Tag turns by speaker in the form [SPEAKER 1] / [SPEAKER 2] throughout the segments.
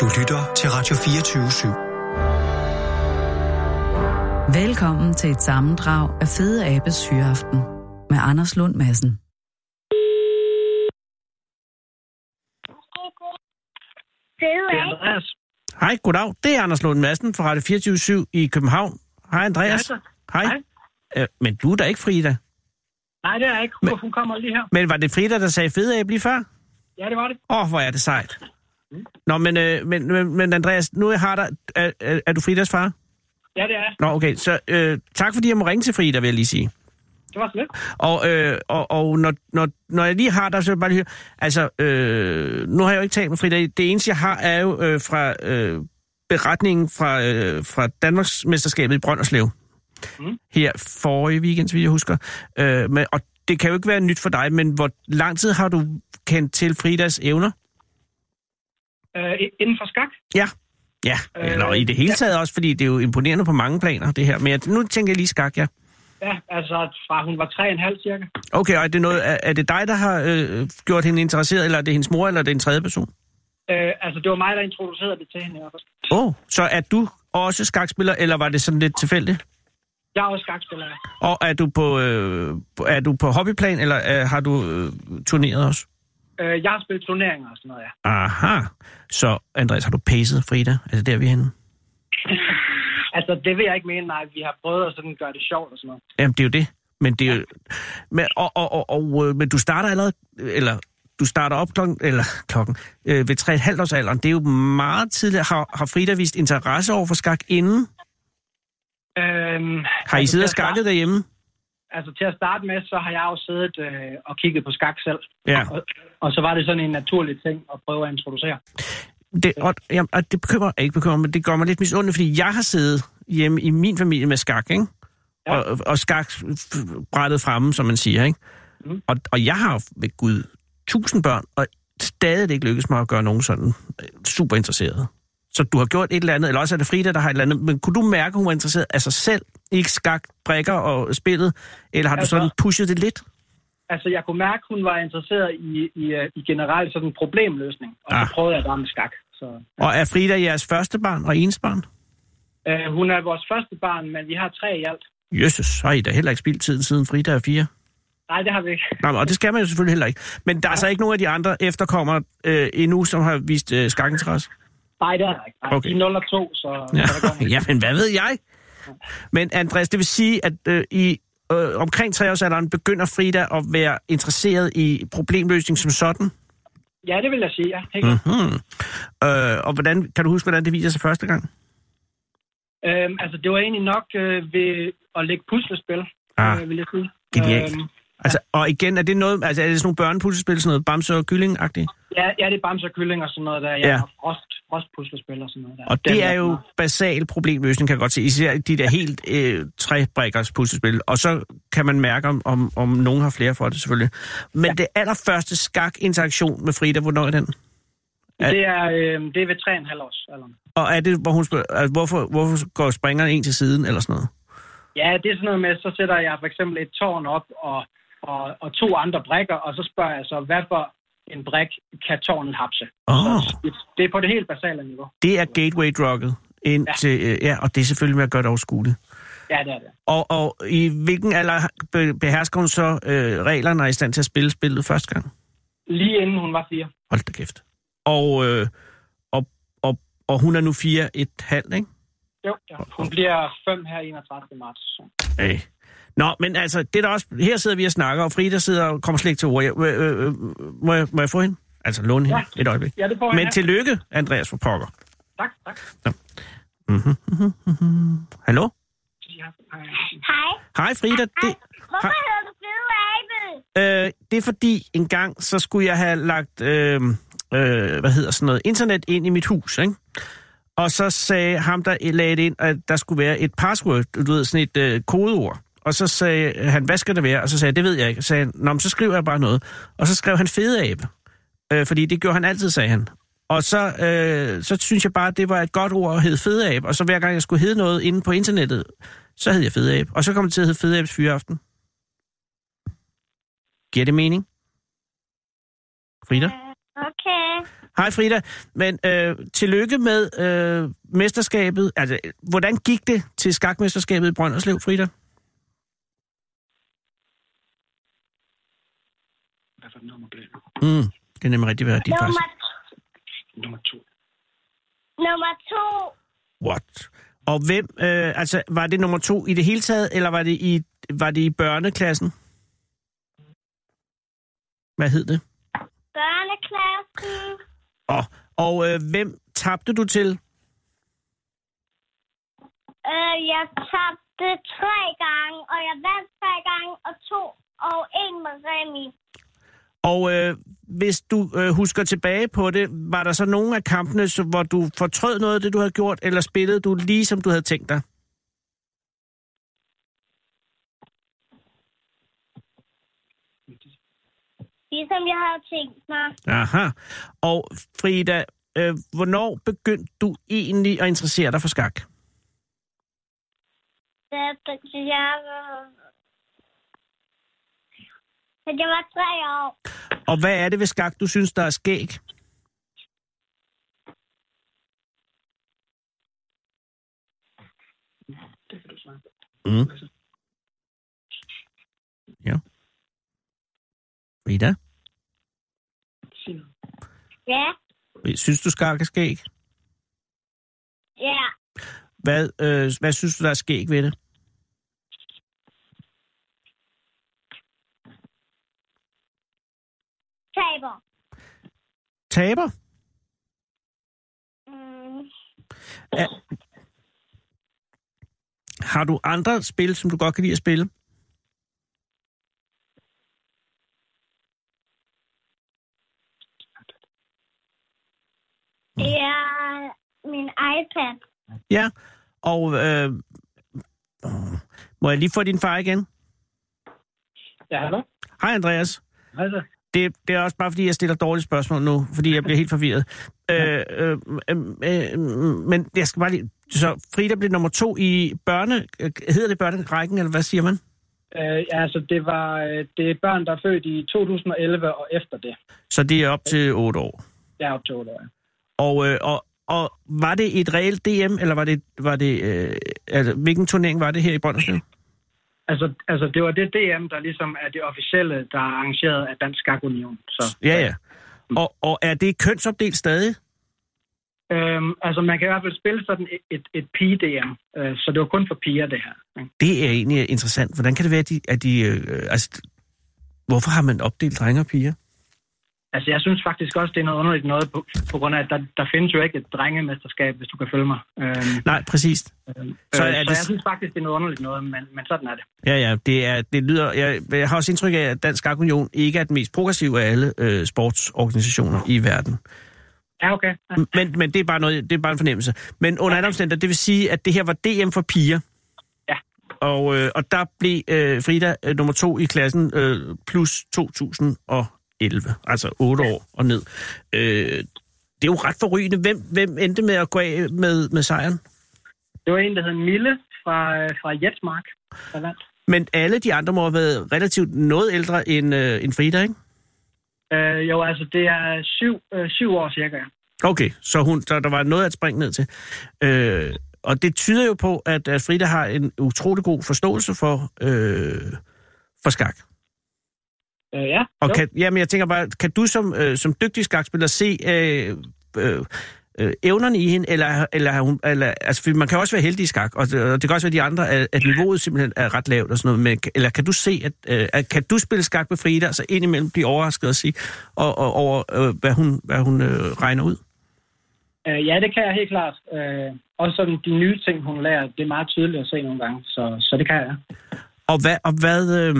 [SPEAKER 1] Du lytter til Radio 24 7.
[SPEAKER 2] Velkommen til et sammendrag af Fede Abes Hyreaften med Anders Lund Madsen.
[SPEAKER 3] Fede
[SPEAKER 4] Det er
[SPEAKER 3] af.
[SPEAKER 4] Andreas.
[SPEAKER 5] Hej, goddag. Det er Anders Lund Madsen fra Radio 24 i København. Hej, Andreas.
[SPEAKER 4] Ja,
[SPEAKER 5] Hej.
[SPEAKER 4] Hej.
[SPEAKER 5] Øh, men du er da ikke Frida.
[SPEAKER 4] Nej, det er jeg ikke.
[SPEAKER 5] Men-
[SPEAKER 4] Men... Hun kommer lige her.
[SPEAKER 5] Men var det Frida, der sagde fede æble lige før?
[SPEAKER 4] Ja, det var det. Mm.
[SPEAKER 5] Åh, oh, hvor er det sejt. Nå, men, øh, men, men, men Andreas, nu jeg har dig... Er, er, er du Fridas far?
[SPEAKER 4] Ja, det er.
[SPEAKER 5] Nå, okay. Så øh, tak, fordi jeg må ringe til Frida, vil jeg lige sige.
[SPEAKER 4] Det var så lidt.
[SPEAKER 5] Og, øh, og, og når, når, når jeg lige har dig, så vil jeg bare lige høre... Altså, øh, nu har jeg jo ikke talt med Frida. Det eneste, jeg har, er jo øh, fra øh, beretningen fra, øh, fra Danmarks mesterskabet i Brønderslev. Mm. Her forrige weekend, så vidt jeg husker. Øh, men, og det kan jo ikke være nyt for dig, men hvor lang tid har du kendt til Fridas evner?
[SPEAKER 4] Øh, i- inden for skak.
[SPEAKER 5] Ja. Ja,
[SPEAKER 4] Øh,
[SPEAKER 5] eller i det hele taget også, fordi det er jo imponerende på mange planer, det her. Men jeg, nu tænker jeg lige skak, ja.
[SPEAKER 4] Ja, altså fra hun var 3,5 cirka.
[SPEAKER 5] Okay, og er det, noget, er, er det dig, der har øh, gjort hende interesseret, eller er det hendes mor, eller er det en tredje person?
[SPEAKER 4] Øh, altså det var mig, der introducerede det til hende. i hvert fald.
[SPEAKER 5] Åh, oh, så er du også skakspiller, eller var det sådan lidt tilfældigt?
[SPEAKER 4] Jeg er også skakspiller. ja.
[SPEAKER 5] Og er du på, øh, er du på hobbyplan, eller øh, har du øh, turneret også?
[SPEAKER 4] Øh, jeg har spillet turneringer og sådan noget, ja.
[SPEAKER 5] Aha. Så, Andreas, har du pacet Frida? Er det der, vi er henne?
[SPEAKER 4] Altså det vil jeg ikke mene, nej. Vi har prøvet at sådan gøre det sjovt og sådan noget.
[SPEAKER 5] Jamen, det er jo det. Men det er jo... Men, og, og, og, og, øh, men du starter allerede... Eller du starter op klokken... Eller klokken... Øh, ved 3,5 års alderen. Det er jo meget tidligt. Har, har Frida vist interesse over for skak inden?
[SPEAKER 4] Øhm,
[SPEAKER 5] Har I siddet og
[SPEAKER 4] til at starte-
[SPEAKER 5] skakket derhjemme?
[SPEAKER 4] Altså til at starte med, så har jeg jo siddet øh, og kigget på skak selv.
[SPEAKER 5] Ja.
[SPEAKER 4] Og, og så var det sådan en naturlig ting at prøve at introducere.
[SPEAKER 5] Det, og, jamen, og det bekymrer, ikke bekymrer, men det gør mig lidt misundelig, fordi jeg har siddet hjemme i min familie med skak, ikke?
[SPEAKER 4] Ja.
[SPEAKER 5] Og, og skakbrættet fremme, som man siger, ikke?
[SPEAKER 4] Mhm.
[SPEAKER 5] Mm. Og, og jeg har ved Gud tusind børn, og stadig er det ikke lykkes mig at gøre nogen sådan øh, super interesseret. Så du har gjort et eller andet, eller også er det Frida, der har et eller andet, men kunne du mærke, at hun var interesseret af sig selv, ikke skak, brikker og spillet, eller har du
[SPEAKER 4] Altså-
[SPEAKER 5] sådan pushet det lidt?
[SPEAKER 4] Altså, jeg kunne mærke, hun var interesseret i, i, øh, i generelt sådan en problemløsning. Og så
[SPEAKER 5] Ah.
[SPEAKER 4] prøvede jeg bare med skak. Så,
[SPEAKER 5] Og er Frida jeres første barn og eneste barn?
[SPEAKER 4] øh, hun er vores første barn, men vi har tre i alt.
[SPEAKER 5] Jøsses, så har I da heller ikke spildt tiden siden Frida er fire.
[SPEAKER 4] Nej, det har vi ikke.
[SPEAKER 5] Nej, men- og det skal man jo selvfølgelig heller ikke. Men der er så ikke nogen af de andre efterkommere øh, endnu, som har vist øh, skakkenteresse?
[SPEAKER 4] Nej, det har der ikke. Nej,
[SPEAKER 5] Okay.
[SPEAKER 4] okay. De er 0 og 2, så...
[SPEAKER 5] Ja.
[SPEAKER 4] så der går ikke.
[SPEAKER 5] ja, men hvad ved jeg? Men Andreas, det vil sige, at øh, i øh, omkring treårsalderen begynder Frida at være interesseret i problemløsning som sådan.
[SPEAKER 4] ja, det vil jeg sige, ja. Helt
[SPEAKER 5] Mhm.
[SPEAKER 4] mm.
[SPEAKER 5] Øh, og hvordan, kan du huske, hvordan det viser sig første gang?
[SPEAKER 4] øhm, altså, det var egentlig nok øh, ved at lægge puslespil,
[SPEAKER 5] Ah.
[SPEAKER 4] øh, vil jeg sige.
[SPEAKER 5] Genialt.
[SPEAKER 4] Øhm,
[SPEAKER 5] Altså, og igen, er det noget, altså er det sådan nogle børnepuslespil, sådan noget bamse og kylling-agtigt?
[SPEAKER 4] ja, ja, det er bamser og kylling og sådan noget der. Ja,
[SPEAKER 5] Ja.
[SPEAKER 4] ja. Og frost, frostpuslespil og sådan noget der.
[SPEAKER 5] Og det
[SPEAKER 4] Den
[SPEAKER 5] er
[SPEAKER 4] der-
[SPEAKER 5] jo basal problemløsning, kan jeg godt se. Især de der helt øh, træbrikkers puslespil. Og så kan man mærke, om, om, om nogen har flere for det selvfølgelig. Men ja. det allerførste skak-interaktion med Frida, hvornår er den?
[SPEAKER 4] Det er, øh, det er ved 3,5 års alderen.
[SPEAKER 5] Og er det, hvor hun spørger, altså, hvorfor, hvorfor går springeren en til siden eller sådan noget?
[SPEAKER 4] Ja, det er sådan noget med, så sætter jeg for eksempel et tårn op og, og, og to andre brækker, og så spørger jeg så, hvad for en brik kan tårnet hapse?
[SPEAKER 5] Åh.
[SPEAKER 4] Så det- Det er på det helt basale niveau.
[SPEAKER 5] Det er gateway-drugget. Ind ja. Til, øh, ja, og det er selvfølgelig med at gøre det overskueligt.
[SPEAKER 4] Ja, det er det.
[SPEAKER 5] Og, og i hvilken alder be- behersker hun så øh, reglerne og er i stand til at spille spillet første gang?
[SPEAKER 4] Lige inden hun var fire.
[SPEAKER 5] Hold da kæft. Og, øh, og, og, og hun er nu fire et halvt, ikke?
[SPEAKER 4] Jo, ja. hun bliver fem her 31. marts.
[SPEAKER 5] Hey. Nå, men altså, det er der også, her sidder vi og snakker, og Frida sidder og kommer slet ikke til ord. Jeg, øh, øh, øh, må, jeg, må jeg få hende? Altså, låne hende ja.
[SPEAKER 4] Ja.
[SPEAKER 5] et øjeblik.
[SPEAKER 4] Ja, det får
[SPEAKER 5] Men
[SPEAKER 4] jeg.
[SPEAKER 5] tillykke, Andreas for pokker. Mhm.
[SPEAKER 4] Tak, tak.
[SPEAKER 5] Hallo?
[SPEAKER 4] Ja, hej.
[SPEAKER 3] Hej.
[SPEAKER 5] Hej Frida. Det,
[SPEAKER 3] Hvorfor hedder du Fede Abe?
[SPEAKER 5] øh, det er fordi, en gang, så skulle jeg have lagt, øh, øh, hvad hedder sådan noget, internet ind i mit hus, ikke? Og så sagde ham, der lagde det ind, at der skulle være et password, du ved, sådan et øh, kodeord. Og så sagde han, hvad skal det være? Og så sagde jeg, det ved jeg ikke. Så sagde han, Nå, men så skriver jeg bare noget. Og så skrev han fede abe. Øh, fordi det gjorde han altid, sagde han. Og så, øh, så synes jeg bare, at det var et godt ord at hedde fede abe. Og så hver gang jeg skulle hedde noget inde på internettet, så hed jeg fede abe. Og så kom det til at hedde fede abes fyreaften. Giver det mening? Frida?
[SPEAKER 3] Okay.
[SPEAKER 5] Hej Frida, men øh, tillykke med øh, mesterskabet. Altså, øh, hvordan gik det til skakmesterskabet i Brønderslev, Frida?
[SPEAKER 4] Hvad for et nummer blev det?
[SPEAKER 5] Mm, det er nemlig rigtig værdigt, faktisk.
[SPEAKER 3] Nummer,
[SPEAKER 4] Nummer to.
[SPEAKER 3] nummer to.
[SPEAKER 5] What? Og hvem, øh, altså, var det nummer to i det hele taget, eller var det i, var det i børneklassen? Hvad hed det?
[SPEAKER 3] Børneklassen.
[SPEAKER 5] Og, og øh, hvem tabte du til?
[SPEAKER 3] Øh, jeg tabte tre gange, og jeg vandt tre gange, og to, og en med Remi.
[SPEAKER 5] Og øh, hvis du øh, husker tilbage på det, var der så nogen af kampene, så- hvor du fortrød noget af det, du havde gjort, eller spillede du lige, som du havde tænkt dig?
[SPEAKER 3] Ligesom jeg havde tænkt mig.
[SPEAKER 5] Aha. Og Frida, øh, hvornår begyndte du egentlig at interessere dig for skak?
[SPEAKER 3] Da da jeg var... Da jeg var tre år.
[SPEAKER 5] Og hvad er det ved skak, du synes, der er skæg?
[SPEAKER 4] Det kan du svare.
[SPEAKER 5] Mm. Ja. Frida,
[SPEAKER 4] Sig noget.
[SPEAKER 3] Ja,
[SPEAKER 5] synes du skak er skæg?
[SPEAKER 3] ja.
[SPEAKER 5] Hvad, øh, hvad synes du, der er skæg ved det?
[SPEAKER 3] Taber.
[SPEAKER 5] Taber?
[SPEAKER 3] Mm.
[SPEAKER 5] Har du andre spil, som du godt kan lide at spille?
[SPEAKER 3] Det er min iPad.
[SPEAKER 5] Ja. Og øh, åh, må jeg lige få din far igen?
[SPEAKER 4] Ja, hallo?
[SPEAKER 5] Hej Andreas.
[SPEAKER 4] Hej så.
[SPEAKER 5] Det, det er også bare, fordi jeg stiller dårlige spørgsmål nu, fordi jeg bliver helt forvirret. Øh, øh, øh, øh, men jeg skal bare lige... Så Frida blev nummer to i børne... øh, Hedder det børnerækken, eller hvad siger man?
[SPEAKER 4] Øh, ja, altså, det, var, øh, det er børn, der er født i 2011 og efter det.
[SPEAKER 5] Så det er op til otte år.
[SPEAKER 4] Jeg er op til otte år.
[SPEAKER 5] Og, øh, og, og var det et reelt DM, eller var det, var det øh, altså, hvilken turnering var det her i Brønderslev?
[SPEAKER 4] Altså, altså, det var det DM, der ligesom er det officielle, der er arrangeret af Dansk Skak Union. Så,
[SPEAKER 5] Ja, ja. Og, og er det kønsopdelt stadig?
[SPEAKER 4] øhm, altså, man kan i hvert fald spille sådan et, et, et pige-DM, øh, så det var kun for piger, det her. ikke?
[SPEAKER 5] Det er egentlig interessant. Hvordan kan det være, at de... At de øh, altså, hvorfor har man opdelt drenge og piger?
[SPEAKER 4] Altså, jeg synes faktisk også, det er noget underligt noget, på, på grund af, at der, der findes jo ikke et drengemesterskab, hvis du kan følge mig. Øhm,
[SPEAKER 5] Nej, præcis.
[SPEAKER 4] øhm,
[SPEAKER 5] Så
[SPEAKER 4] så,
[SPEAKER 5] er
[SPEAKER 4] øh,
[SPEAKER 5] det-
[SPEAKER 4] så jeg synes faktisk, det er noget underligt noget, men, men sådan er det.
[SPEAKER 5] Ja, ja, det, er, det lyder... Jeg, jeg har også indtryk af, at Dansk Skak Union ikke er den mest progressive af alle øh, sportsorganisationer i verden.
[SPEAKER 4] Ja, okay. Ja.
[SPEAKER 5] Men, men det, er bare noget, det er bare en fornemmelse. Men under andre omstændigheder, det vil sige, at det her var DM for piger.
[SPEAKER 4] Ja.
[SPEAKER 5] Og, øh, og der blev øh, Frida øh, nummer to i klassen øh, plus 2011, altså otte år og ned. Øh, det er jo ret forrygende. Hvem, hvem endte med at gå af med, med sejren?
[SPEAKER 4] Det var en, der hed Mille fra, øh, fra Jetsmark, der vandt.
[SPEAKER 5] Men alle de andre må have været relativt noget ældre end, øh, end Frida, ikke?
[SPEAKER 4] Øh, jo, altså, det er syv, øh, syv år cirka. ja.
[SPEAKER 5] Okay, så, hun, så der var noget at springe ned til. Øh, og det tyder jo på, at, at Frida har en utrolig god forståelse for, øh, for skak.
[SPEAKER 4] Øh, ja,
[SPEAKER 5] Og
[SPEAKER 4] jo.
[SPEAKER 5] kan, jamen, jeg tænker bare, kan du som, øh, som dygtig skakspiller se øh, øh, øh, evnerne i hende, eller, eller, har hun, eller altså, for man kan også være heldig i skak, og det, og det kan også være de andre, at, at niveauet simpelthen er ret lavt og sådan noget, men, kan- eller kan du se, at, øh, at kan du spille skak med Frida, og så indimellem blive overrasket og sige, og, og, over, øh, hvad hun, hvad hun øh, regner ud?
[SPEAKER 4] Øh, ja, det kan jeg helt klart. Øh, også sådan de nye ting, hun lærer, det er meget tydeligt at se nogle gange, så, så det kan jeg.
[SPEAKER 5] Og hvad, og hvad, øh,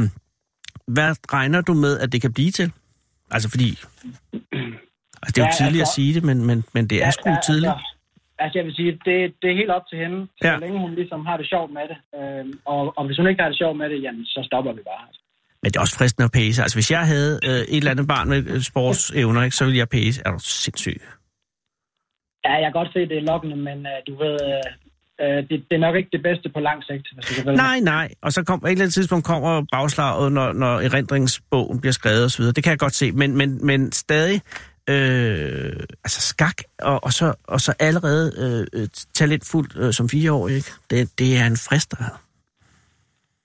[SPEAKER 5] hvad regner du med, at det kan blive til? Altså fordi... Altså, det er jo
[SPEAKER 4] Ja,
[SPEAKER 5] ja, tidligt
[SPEAKER 4] altså-
[SPEAKER 5] at sige det, men, men, men det er sgu
[SPEAKER 4] altså,
[SPEAKER 5] tidligt.
[SPEAKER 4] Altså, jeg vil sige, det, det er helt op til hende, så
[SPEAKER 5] Ja.
[SPEAKER 4] ja. længe hun ligesom har det sjovt med det. Øh, og, og hvis hun ikke har det sjovt med det, jamen, så stopper vi bare.
[SPEAKER 5] Men det er også fristende at pæse. Altså, hvis jeg havde øh, et eller andet barn med øh, sportsevner, ikke, så ville jeg pæse. Er du sindssyg?
[SPEAKER 4] Ja, jeg kan godt se, det er lokkende, men øh, du ved, øh, øh, det, det er nok ikke det bedste på lang sigt, hvis du kan følge
[SPEAKER 5] Nej,
[SPEAKER 4] mig.
[SPEAKER 5] nej. Og så kom, på et eller andet tidspunkt kommer bagslaget, når, når erindringsbogen bliver skrevet osv. Det kan jeg godt se. Men, men, men stadig, øh, altså skak, og, og, så, og så allerede øh, øh, talentfuld øh, som fire år, ikke? Det, det er en frister.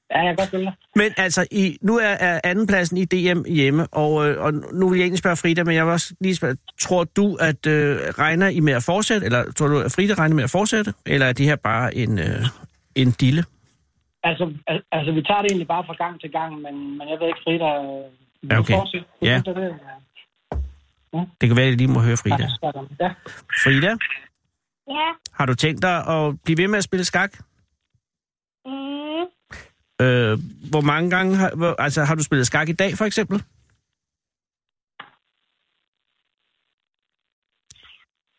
[SPEAKER 4] Ja, jeg kan godt følge dig.
[SPEAKER 5] Men altså, i, nu er, er andenpladsen i DM hjemme, og, øh, og nu vil jeg egentlig spørge Frida, men jeg vil også lige spørge, tror du, at øh, regner I med at fortsætte, eller tror du, at Frida regner med at fortsætte, eller er det her bare en, øh, en dille?
[SPEAKER 4] Altså, al- altså, vi tager det egentlig bare fra gang til gang, men, men jeg ved ikke, Frida... øh, vi
[SPEAKER 5] Ja, okay.
[SPEAKER 4] fortsætter. Det
[SPEAKER 5] Ja.
[SPEAKER 4] synes jeg, det er-
[SPEAKER 5] Det kan være, at I lige må høre
[SPEAKER 4] Ja,
[SPEAKER 5] Frida.
[SPEAKER 4] sådan. ja.
[SPEAKER 5] Frida,
[SPEAKER 6] Ja.
[SPEAKER 5] har du tænkt dig at blive ved med at spille skak?
[SPEAKER 6] Mm.
[SPEAKER 5] Øh, hvor mange gange har, hvor, altså, har du spillet skak i dag, for eksempel?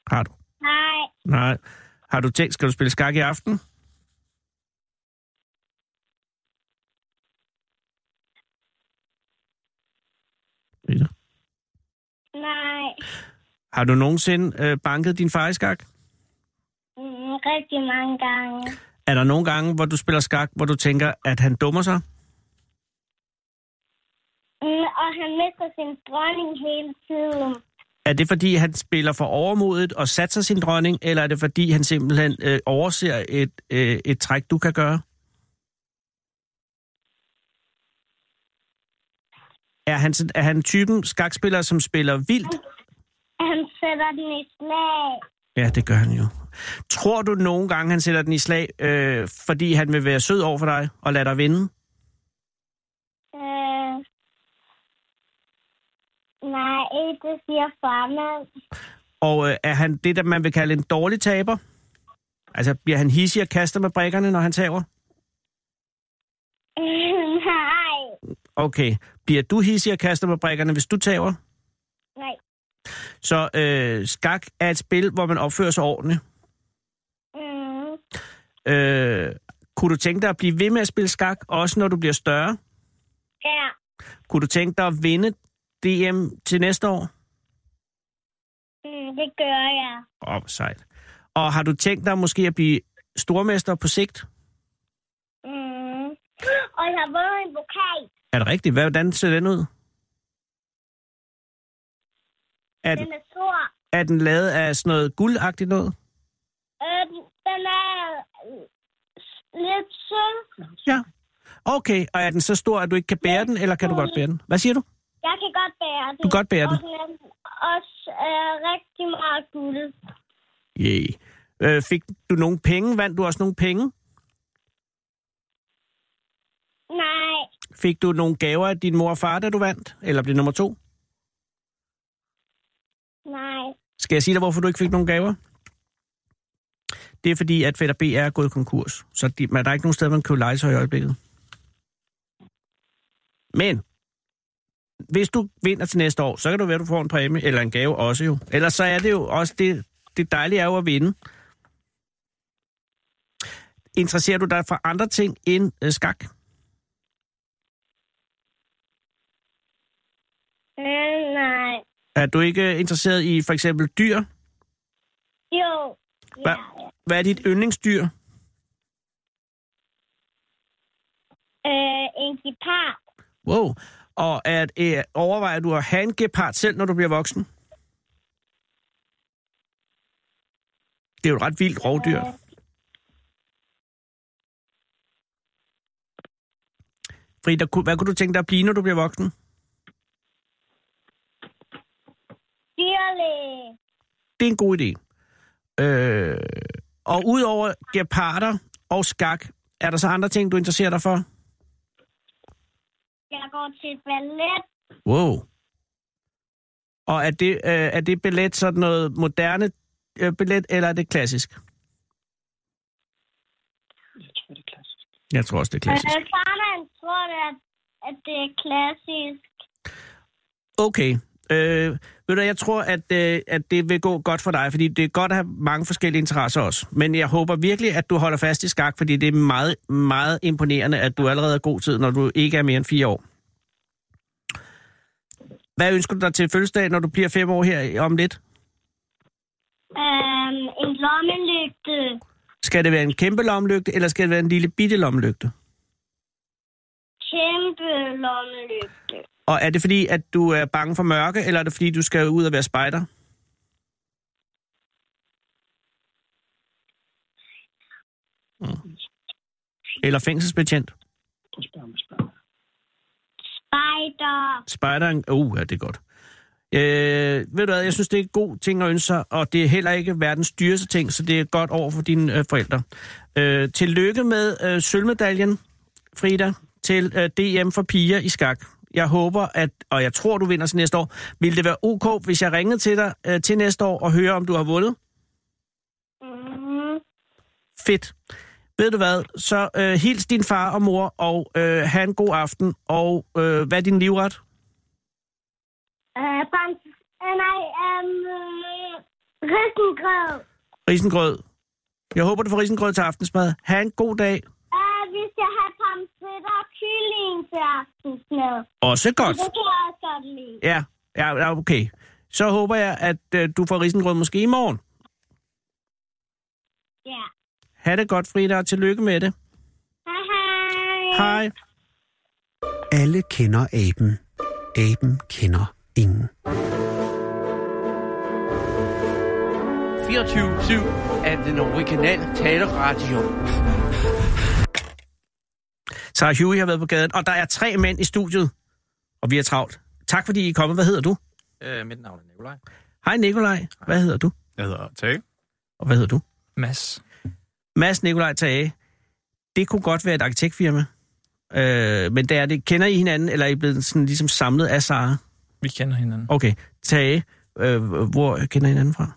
[SPEAKER 5] Har du?
[SPEAKER 6] Nej.
[SPEAKER 5] Nej. Har du tænkt, skal du spille skak i aften? Frida.
[SPEAKER 6] Nej.
[SPEAKER 5] Har du nogensinde øh, banket din far i skak?
[SPEAKER 6] Mm, rigtig mange gange.
[SPEAKER 5] Er der nogle gange, hvor du spiller skak, hvor du tænker, at han dummer sig?
[SPEAKER 6] Mm, og han mister sin dronning hele tiden.
[SPEAKER 5] Er det fordi, han spiller for overmodet og satser sin dronning, eller er det fordi, han simpelthen øh, overser et, øh, et træk, du kan gøre? Er han, sådan- er han typen skakspiller, som spiller vildt?
[SPEAKER 6] Han sætter den i slag.
[SPEAKER 5] Ja, det gør han jo. Tror du nogle gange, han sætter den i slag, øh, fordi han vil være sød over for dig og lade dig vinde?
[SPEAKER 6] Øh, nej, ikke det siger farmand.
[SPEAKER 5] Og øh, er han det, der man vil kalde en dårlig taber? Altså, bliver han hissig og kaster med brækkerne, når han taber?
[SPEAKER 6] nej,
[SPEAKER 5] Okay. Bliver du hissig og kaster med brækkerne, hvis du taber?
[SPEAKER 6] nej.
[SPEAKER 5] Så øh, skak er et spil, hvor man opfører sig ordentligt.
[SPEAKER 6] Mm,
[SPEAKER 5] Øh, kunne du tænke dig at blive ved med at spille skak, også når du bliver større?
[SPEAKER 6] ja,
[SPEAKER 5] Kunne du tænke dig at vinde DM til næste år?
[SPEAKER 6] mm, det gør jeg.
[SPEAKER 5] Åh, oh, sejt. Og har du tænkt dig måske at blive stormester på sigt?
[SPEAKER 6] Mm. Og jeg har vundet en vokal.
[SPEAKER 5] Er det rigtigt? Hvad- Hvordan ser den ud? Er den,
[SPEAKER 6] Den er stor.
[SPEAKER 5] er den lavet af sådan noget guldagtigt noget?
[SPEAKER 6] Øh, den- den er øh, lidt sølv.
[SPEAKER 5] Ja. Okay, og er den så stor, at du ikke kan bære den, eller kan du godt bære den? Hvad siger du?
[SPEAKER 6] Jeg kan godt bære den.
[SPEAKER 5] Du kan godt bære
[SPEAKER 6] og
[SPEAKER 5] den.
[SPEAKER 6] den er også øh, rigtig meget guld.
[SPEAKER 5] Yeah. Øh, fik du nogle penge? Vandt du også nogle penge?
[SPEAKER 6] Nej,
[SPEAKER 5] Fik du nogle gaver af din mor og far, da du vandt? Eller blev nummer to?
[SPEAKER 6] nej.
[SPEAKER 5] Skal jeg sige dig, hvorfor du ikke fik nogen gaver? Det er fordi, at Fætter B er gået konkurs. Så de, men der er ikke nogen steder, man kan købe legetøj i øjeblikket. Men, hvis du vinder til næste år, så kan du være, at du får en præmie eller en gave også jo. Ellers så er det jo også det, det dejlige er jo at vinde. Interesserer du dig for andre ting end øh, skak?
[SPEAKER 6] Øh, nej.
[SPEAKER 5] Er du ikke interesseret i for eksempel dyr?
[SPEAKER 6] Jo.
[SPEAKER 5] Hvad, hvad er dit yndlingsdyr?
[SPEAKER 6] Øh, en guitar.
[SPEAKER 5] Wow. Og at, øh, overvejer du at have en gepard selv, når du bliver voksen? Det er jo et ret vildt rovdyr. Frida, ku- hvad kunne du tænke dig at blive, når du bliver voksen?
[SPEAKER 6] Dyrlæge.
[SPEAKER 5] Det er en god idé. Øh, og udover geparder og skak, er der så andre ting, du interesserer dig for?
[SPEAKER 6] Jeg går til ballet.
[SPEAKER 5] Wow. Og er det, øh, er det ballet sådan noget moderne øh, ballet, eller er det klassisk?
[SPEAKER 4] Jeg tror, det er klassisk.
[SPEAKER 5] Jeg tror også, det er
[SPEAKER 6] Øh, farmand tror, at, at det er klassisk.
[SPEAKER 5] Okay. Øh, ved du, jeg tror, at, øh, at det vil gå godt for dig, fordi det er godt at have mange forskellige interesser også. Men jeg håber virkelig, at du holder fast i skak, fordi det er meget, meget imponerende, at du allerede er god tid, når du ikke er mere end fire år. Hvad ønsker du dig til fødselsdag, når du bliver fem år her om lidt?
[SPEAKER 6] Øh, en lommelygte.
[SPEAKER 5] Skal det være en kæmpe lommelygte, eller skal det være en lille bitte lommelygte?
[SPEAKER 6] Kæmpe lommelygte.
[SPEAKER 5] Og er det fordi, at du er bange for mørke, eller er det fordi, du skal ud og være spejder? Mm. Eller fængselsbetjent?
[SPEAKER 4] Prøv at spørge mig, spørge mig.
[SPEAKER 3] Spider.
[SPEAKER 5] Spejderen, uh, ja, det er godt. Øh, ved du hvad, jeg synes, det er en god ting at ønske sig, og det er heller ikke verdens dyreste ting, så det er godt over for dine øh, forældre. Øh, tillykke med øh, sølvmedaljen, Frida, til øh, DM for piger i skak. Jeg håber, at, og jeg tror, du vinder til næste år. Vil det være ok, hvis jeg ringede til dig øh, til næste år og hører, om du har vundet?
[SPEAKER 3] Mm.
[SPEAKER 6] Mm-hmm.
[SPEAKER 5] Fedt. Ved du hvad, så øh, hils din far og mor, og øh, have en god aften, og øh, hvad er din livret?
[SPEAKER 3] Øh, frans... Øh, nej, øhm... Risengrød.
[SPEAKER 5] Risengrød. Jeg håber, du får risengrød til aftensmad. Ha' en god dag.
[SPEAKER 3] Øh, vi skal have pomfritter og kylling til aftensmad.
[SPEAKER 5] Også godt.
[SPEAKER 3] Det kan jeg også godt lide.
[SPEAKER 5] Ja, ja, ja, okay. Så håber jeg, at øh, du får risengrød måske i morgen.
[SPEAKER 3] Ja.
[SPEAKER 5] Ha' det godt, Frida, og tillykke med det.
[SPEAKER 3] Hej hej.
[SPEAKER 5] Hej.
[SPEAKER 1] Alle kender aben. Aben kender ingen.
[SPEAKER 7] 24-7 er den originale taleradio.
[SPEAKER 5] Sarah Huey har været på gaden, og der er tre mænd i studiet, og vi er travlt. Tak fordi I er kommet. Hvad hedder du?
[SPEAKER 8] Øh, mit navn er Nikolaj.
[SPEAKER 5] Hej Nikolaj. Hvad hedder du?
[SPEAKER 8] Jeg hedder Tage.
[SPEAKER 5] Og hvad hedder du?
[SPEAKER 8] Mads.
[SPEAKER 5] Mads Nikolaj Tage. Det kunne godt være et arkitektfirma. Øh, men det er det. Kender I hinanden, eller er I blevet sådan ligesom samlet af Sara?
[SPEAKER 8] Vi kender hinanden.
[SPEAKER 5] Okay, Tage. Øh, hvor kender I hinanden fra?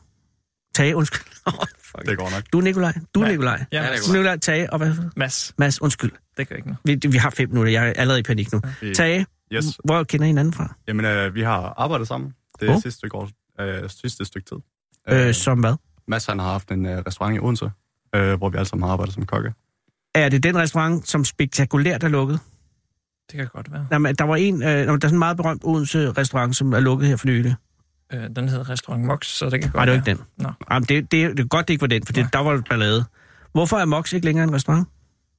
[SPEAKER 5] Tage, undskyld. Fuck.
[SPEAKER 9] Det går nok.
[SPEAKER 5] Du er Nikolaj. Du er
[SPEAKER 8] Ja.
[SPEAKER 5] Nikolaj.
[SPEAKER 8] Ja, Mads.
[SPEAKER 5] Nikolaj. Nikolaj Tage og hvad?
[SPEAKER 8] Mads.
[SPEAKER 5] Mads, undskyld.
[SPEAKER 8] Det gør ikke noget.
[SPEAKER 5] Vi, vi har fem minutter. Jeg er allerede i panik nu.
[SPEAKER 9] Vi-
[SPEAKER 5] Tage,
[SPEAKER 9] Yes.
[SPEAKER 5] hvor kender I hinanden fra?
[SPEAKER 9] Jamen, øh, vi har arbejdet sammen det
[SPEAKER 5] Åh.
[SPEAKER 9] oh. sidste, stykke år, øh, sidste stykke tid.
[SPEAKER 5] Øh, som hvad?
[SPEAKER 9] Mads han har haft en øh, restaurant i Odense, øh, hvor vi alle sammen har arbejdet som kokke.
[SPEAKER 5] Er det den restaurant, som spektakulært er lukket?
[SPEAKER 8] Det kan godt være.
[SPEAKER 5] Jamen, der var en, øh, jamen, der er sådan en meget berømt Odense-restaurant, som er lukket her for nylig.
[SPEAKER 8] Øh, den hedder Restaurant Mox, så det kan godt
[SPEAKER 5] Nej, det var
[SPEAKER 8] være.
[SPEAKER 5] ikke den.
[SPEAKER 8] Nå.
[SPEAKER 5] Jamen, det, det, det er godt, det ikke var den, for det,
[SPEAKER 8] Nej.
[SPEAKER 5] der var jo ballade. Hvorfor er Mox ikke længere en restaurant?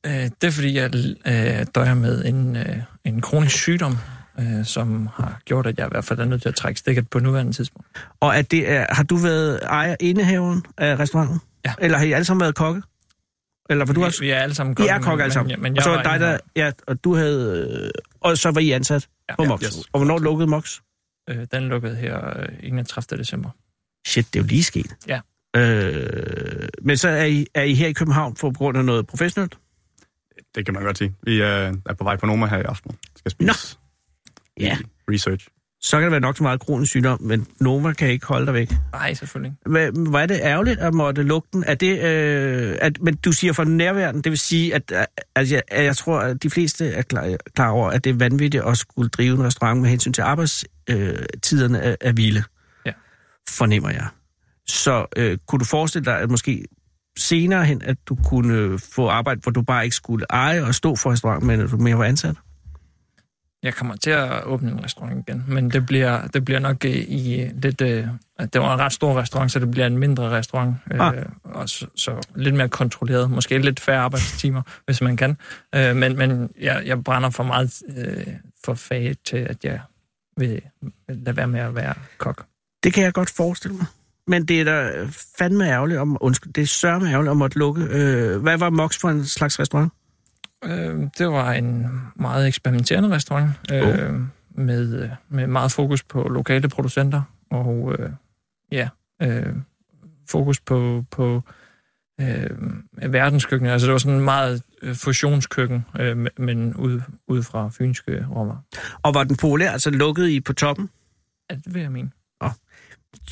[SPEAKER 8] Øh, det er fordi, jeg øh, døjer med en, øh, en kronisk sygdom, øh, som har gjort, at jeg i hvert fald er nødt til at trække stikket på nuværende tidspunkt.
[SPEAKER 5] Og er det, er, har du været ejer indehaveren af restauranten?
[SPEAKER 8] Ja.
[SPEAKER 5] Eller har I alle sammen været kokke? Eller for du
[SPEAKER 8] vi,
[SPEAKER 5] også?
[SPEAKER 8] vi er alle sammen
[SPEAKER 5] I
[SPEAKER 8] kokke,
[SPEAKER 5] er kokke alle sammen.
[SPEAKER 8] Men, men
[SPEAKER 5] og
[SPEAKER 8] jeg
[SPEAKER 5] så var
[SPEAKER 8] var
[SPEAKER 5] dig, der, ja, og du havde, øh, og så var I ansat
[SPEAKER 8] Ja.
[SPEAKER 5] på Mox.
[SPEAKER 9] yes.
[SPEAKER 5] Og hvornår lukkede Mox?
[SPEAKER 8] Øh, den lukkede her øh, 31. december.
[SPEAKER 5] Shit, det er jo lige sket.
[SPEAKER 8] Ja.
[SPEAKER 5] Øh, men så er I, er I her i København for på grund af noget professionelt?
[SPEAKER 9] Det kan man godt sige. Vi øh, er på vej på Noma her i aften. Skal spise
[SPEAKER 5] Nå.
[SPEAKER 9] i research.
[SPEAKER 5] Så kan det være nok så meget kronisk sygdom, men Noma kan ikke holde dig væk.
[SPEAKER 8] Nej, selvfølgelig. ikke.
[SPEAKER 5] Hvad, hvor er det ærgerligt at måtte lukke den? Er det, øh, at, men du siger for nærværende, det vil sige, at, at, jeg, at jeg tror, at de fleste er klar, klar over, at det er vanvittigt at skulle drive en restaurant med hensyn til arbejdstiderne øh, tiderne af, af hvile.
[SPEAKER 8] Ja.
[SPEAKER 5] Fornemmer jeg. Så øh, kunne du forestille dig, at måske senere hen, at du kunne øh, få arbejde, hvor du bare ikke skulle eje og stå for restauranten, men at du mere var ansat?
[SPEAKER 8] Jeg kommer til at åbne en restaurant igen, men det bliver, det bliver nok øh, i øh, lidt... Øh, at det var en ret stor restaurant, så det bliver en mindre restaurant. Øh,
[SPEAKER 5] Ah.
[SPEAKER 8] og så, så lidt mere kontrolleret, måske lidt færre arbejdstimer, hvis man kan. Øh, men men jeg, jeg brænder for meget øh, for faget til, at jeg vil lade være med at være kok.
[SPEAKER 5] Det kan jeg godt forestille mig. Men det er da fandme ærgerligt om, undskyld, det er sørme ærgerligt om at lukke. Øh, hvad var Mox for en slags restaurant?
[SPEAKER 8] Øh, det var en meget eksperimenterende restaurant, øh, med, øh, med meget fokus på lokale producenter, og øh, ja, øh, fokus på, på øh, verdenskøkkenet. Altså det var sådan en meget øh, fusionskøkken, øh, me- men ud, ud fra fynske råvarer.
[SPEAKER 5] Og var den populær, altså lukkede I på toppen?
[SPEAKER 8] Ja, det vil jeg mene.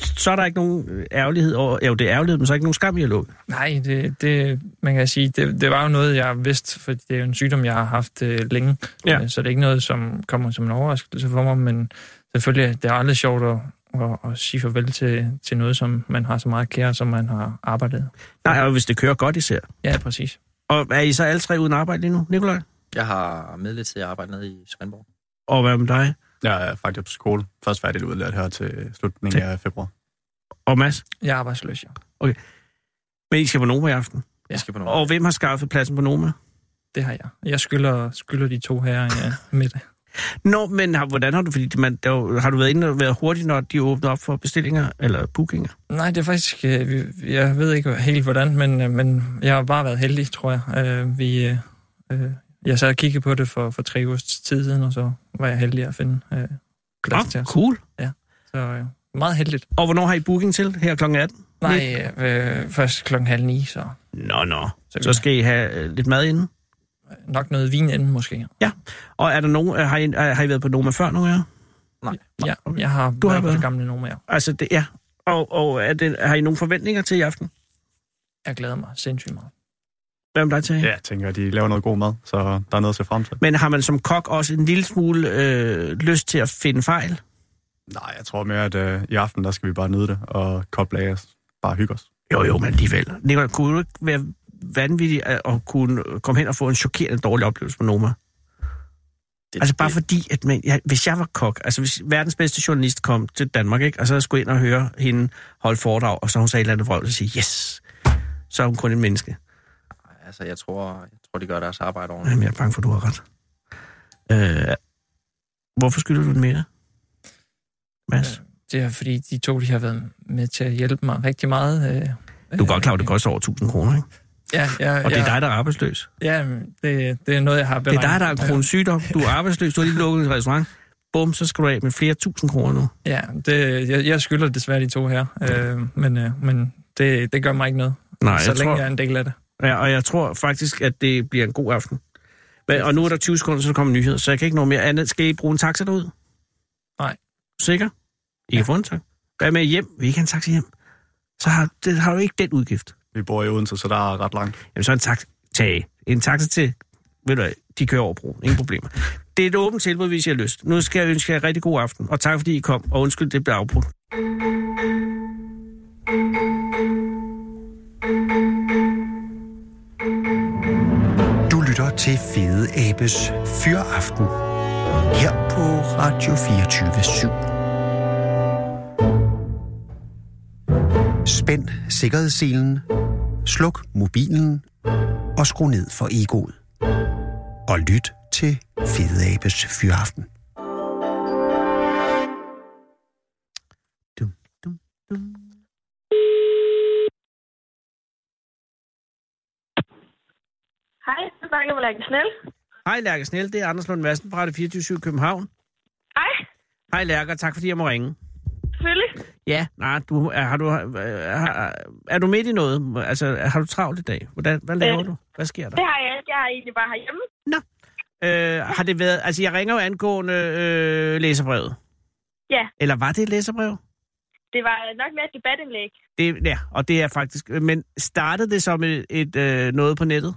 [SPEAKER 5] Så er der ikke nogen øh, ærgerlighed over, jo det er ærgerlighed, men så er ikke nogen skam i at lukke.
[SPEAKER 8] Nej, det, det, man kan sige, det, det var jo noget, jeg vidste, for det er jo en sygdom, jeg har haft øh, længe.
[SPEAKER 5] Ja.
[SPEAKER 8] Øh, Så det er ikke noget, som kommer som en overraskelse for mig, men selvfølgelig, det er aldrig sjovt at, at, at sige farvel til, til noget, som man har så meget kære, som man har arbejdet.
[SPEAKER 5] Nej, og hvis det kører godt især.
[SPEAKER 8] Ja, præcis.
[SPEAKER 5] Og er I så alle tre uden arbejde lige nu, Nikolaj?
[SPEAKER 7] Jeg har midlertidigt arbejdet nede i Svendborg.
[SPEAKER 5] Og hvad med dig?
[SPEAKER 9] Jeg er faktisk på skole. Først færdigt udlært her til slutningen af februar.
[SPEAKER 5] Og Mads?
[SPEAKER 8] Jeg er arbejdsløs, ja.
[SPEAKER 5] Men I skal på Noma i aften.
[SPEAKER 7] Jeg skal på nogle...
[SPEAKER 5] Og hvem har skaffet pladsen på Noma?
[SPEAKER 8] Det har jeg. Jeg skylder, skylder de to her ja, middag.
[SPEAKER 5] Nå, men har, hvordan har du, fordi man, der, er jo- har du været inde og været hurtig, når de åbner op for bestillinger eller bookinger?
[SPEAKER 8] Nej, det er faktisk... øh, vi- Jeg ved ikke helt, hvordan, men, øh, men jeg har bare været heldig, tror jeg. Øh, Vi, øh, øh, jeg sad og kiggede på det for, for tre ugers tid siden, og så var jeg heldig at finde øh, plads til
[SPEAKER 5] Nå,
[SPEAKER 8] os.
[SPEAKER 5] cool.
[SPEAKER 8] Så øh, meget heldigt.
[SPEAKER 5] Og hvornår har I booking til? Her kl. 18?
[SPEAKER 8] Nej, øh, først klokken halv ni, så
[SPEAKER 5] Nå, nå.
[SPEAKER 8] Så-
[SPEAKER 5] Så skal I have øh, lidt mad inden.
[SPEAKER 8] nok noget vin inden måske.
[SPEAKER 5] Og er der nogen, øh, har, I, øh, har I været på Noma før, nogle af jer?
[SPEAKER 8] Ja, jeg har
[SPEAKER 5] Du har
[SPEAKER 8] været på
[SPEAKER 5] været.
[SPEAKER 8] det gamle nummer, jeg,
[SPEAKER 5] Altså, det, ja. Og, og er det, har I nogle forventninger til i aften?
[SPEAKER 8] jeg glæder mig sindssygt meget.
[SPEAKER 5] Hvad med dig til?
[SPEAKER 9] Ja, jeg tænker, at de laver noget god mad, så der er noget at se frem til.
[SPEAKER 5] Men har man som kok også en lille smule øh, lyst til at finde fejl?
[SPEAKER 9] Nej, jeg tror mere, at øh, i aften, der skal vi bare nyde det og koble af os. Bare hygge os.
[SPEAKER 5] Jo, jo, men alligevel. Nicolaj, kunne du ikke være vanvittig at, at kunne komme hen og få en chokerende dårlig oplevelse på Noma?
[SPEAKER 7] Det,
[SPEAKER 5] Altså bare
[SPEAKER 7] det-
[SPEAKER 5] fordi, at man, ja, hvis jeg var kok, altså hvis verdens bedste journalist kom til Danmark, ikke, og så skulle jeg ind og høre hende holde foredrag, og så hun sagde et eller andet vrøvl, og sige, yes, så er hun kun et menneske.
[SPEAKER 7] Altså, jeg tror, jeg tror, de gør deres arbejde ordentligt.
[SPEAKER 5] Jamen, jeg er bange for, at du har ret. Øh, hvorfor skylder du den mere? Mads,
[SPEAKER 8] Øh, Det er fordi, de to de har været med til at hjælpe mig rigtig meget. Øh,
[SPEAKER 5] du er godt klar, over, at det koster over 1000 kroner, ikke?
[SPEAKER 8] Ja, ja,
[SPEAKER 5] Og
[SPEAKER 8] ja,
[SPEAKER 5] det er dig, der er arbejdsløs.
[SPEAKER 8] Ja, men det, det er noget, jeg har
[SPEAKER 5] Det
[SPEAKER 8] beregnet.
[SPEAKER 5] er dig, der er kronen sygdom. Du er arbejdsløs. Du har lige lukket en restaurant. Bum, så skal du af med flere tusind kroner nu.
[SPEAKER 8] Ja, det, jeg, jeg skylder desværre de to her, øh, men, øh, men det, det gør mig ikke noget,
[SPEAKER 5] Nej,
[SPEAKER 8] så
[SPEAKER 5] jeg
[SPEAKER 8] længe
[SPEAKER 5] tror,
[SPEAKER 8] jeg er en del af det.
[SPEAKER 5] ja, og jeg tror faktisk, at det bliver en god aften. Men, og nu er der 20 sekunder, så der kommer nyheder, så jeg kan ikke nå mere andet. Skal I bruge en taxa derud?
[SPEAKER 8] Nej.
[SPEAKER 5] Sikker? I kan få en taxa. Hvad med hjem? Vi kan en taxa hjem. Så har, det, har du ikke den udgift.
[SPEAKER 9] Vi bor i Odense, så der er ret langt.
[SPEAKER 5] Jamen så en taxa. Tag. En taxa til, ved du hvad, de kører over broen. Ingen problemer. Det er et åbent tilbud, hvis I har lyst. Nu skal jeg ønske jer rigtig god aften, og tak fordi I kom, og undskyld, det blev afbrudt.
[SPEAKER 1] Du lytter til Fede Abes Fyraften her på Radio 24 Spænd sikkerhedsselen, sluk mobilen og skru ned for egoet. Og lyt til Fede Abes Fyraften. Dum, dum, dum.
[SPEAKER 3] Hej, så snakker vi Lærke Snell.
[SPEAKER 5] Hej Lærke Snell, det er Anders Lund Madsen fra Radio 24 København.
[SPEAKER 3] Hej,
[SPEAKER 5] Hej Lærke, og tak fordi jeg må ringe.
[SPEAKER 3] selvfølgelig.
[SPEAKER 5] Ja. Nej, du, er, har du, er, er, er du midt i noget? Altså, er- har du travlt i dag? Hvordan, hvad laver
[SPEAKER 3] Øh.
[SPEAKER 5] du? Hvad sker der?
[SPEAKER 3] Det har jeg ikke. Jeg er egentlig bare herhjemme.
[SPEAKER 5] Øh, har det været, altså, jeg ringer jo angående øh, læserbrevet.
[SPEAKER 3] Ja.
[SPEAKER 5] Eller var det et læserbrev?
[SPEAKER 3] Det var nok mere et debatindlæg.
[SPEAKER 5] Det, ja, og det er faktisk... Men startede det som et, et øh, noget på nettet?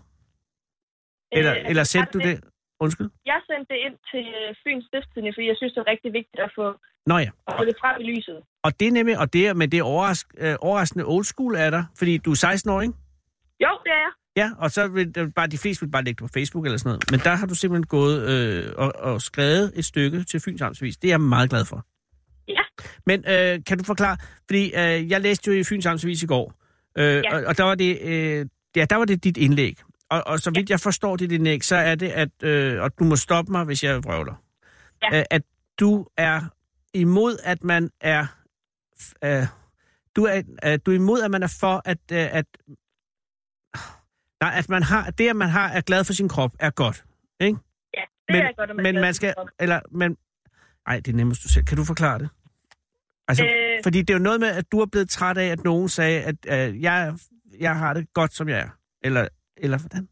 [SPEAKER 5] Eller,
[SPEAKER 3] Øh,
[SPEAKER 5] øh, eller sendte du
[SPEAKER 3] startede
[SPEAKER 5] det? Undskyld?
[SPEAKER 3] Jeg sendte det ind til øh, Fyns Stiftstidende, fordi jeg synes, det er rigtig vigtigt at få,
[SPEAKER 5] Nå ja.
[SPEAKER 3] at få det frem i lyset.
[SPEAKER 5] Og det er nemlig, og det er, men det er overrask, øh, overraskende old school af dig, fordi du er 16 år, ikke?
[SPEAKER 3] Jo, det er jeg.
[SPEAKER 5] Ja, og så vil der bare, de fleste vil bare lægge det på Facebook eller sådan noget. Men der har du simpelthen gået øh, og, og skrevet et stykke til Fyns Amtsvis. Det er jeg meget glad for.
[SPEAKER 3] Ja.
[SPEAKER 5] Men øh, kan du forklare, fordi øh, jeg læste jo i Fyns Amtsvis i går, øh, ja.
[SPEAKER 3] Ja.
[SPEAKER 5] og, og der, var det, øh, ja, der var det dit indlæg. Og, og så vidt jeg forstår dit indlæg, så er det, at, øh, og du må stoppe mig, hvis jeg vrøvler,
[SPEAKER 3] Ja.
[SPEAKER 5] øh, at du er imod, at man er... Øh, du er, øh, du er imod, at man er for, at, øh, at Nej, at man har, det, at man har, er glad for sin krop, er godt.
[SPEAKER 3] Ja, det
[SPEAKER 5] Men-
[SPEAKER 3] er godt, at man
[SPEAKER 5] Men
[SPEAKER 3] er
[SPEAKER 5] man skal... Eller, men, ej, det er nemmest du selv. Kan du forklare det? Altså, øh...
[SPEAKER 3] Øh,
[SPEAKER 5] Fordi det er jo noget med, at du er blevet træt af, at nogen sagde, at øh, jeg, jeg har det godt, som jeg er. Eller, eller hvordan?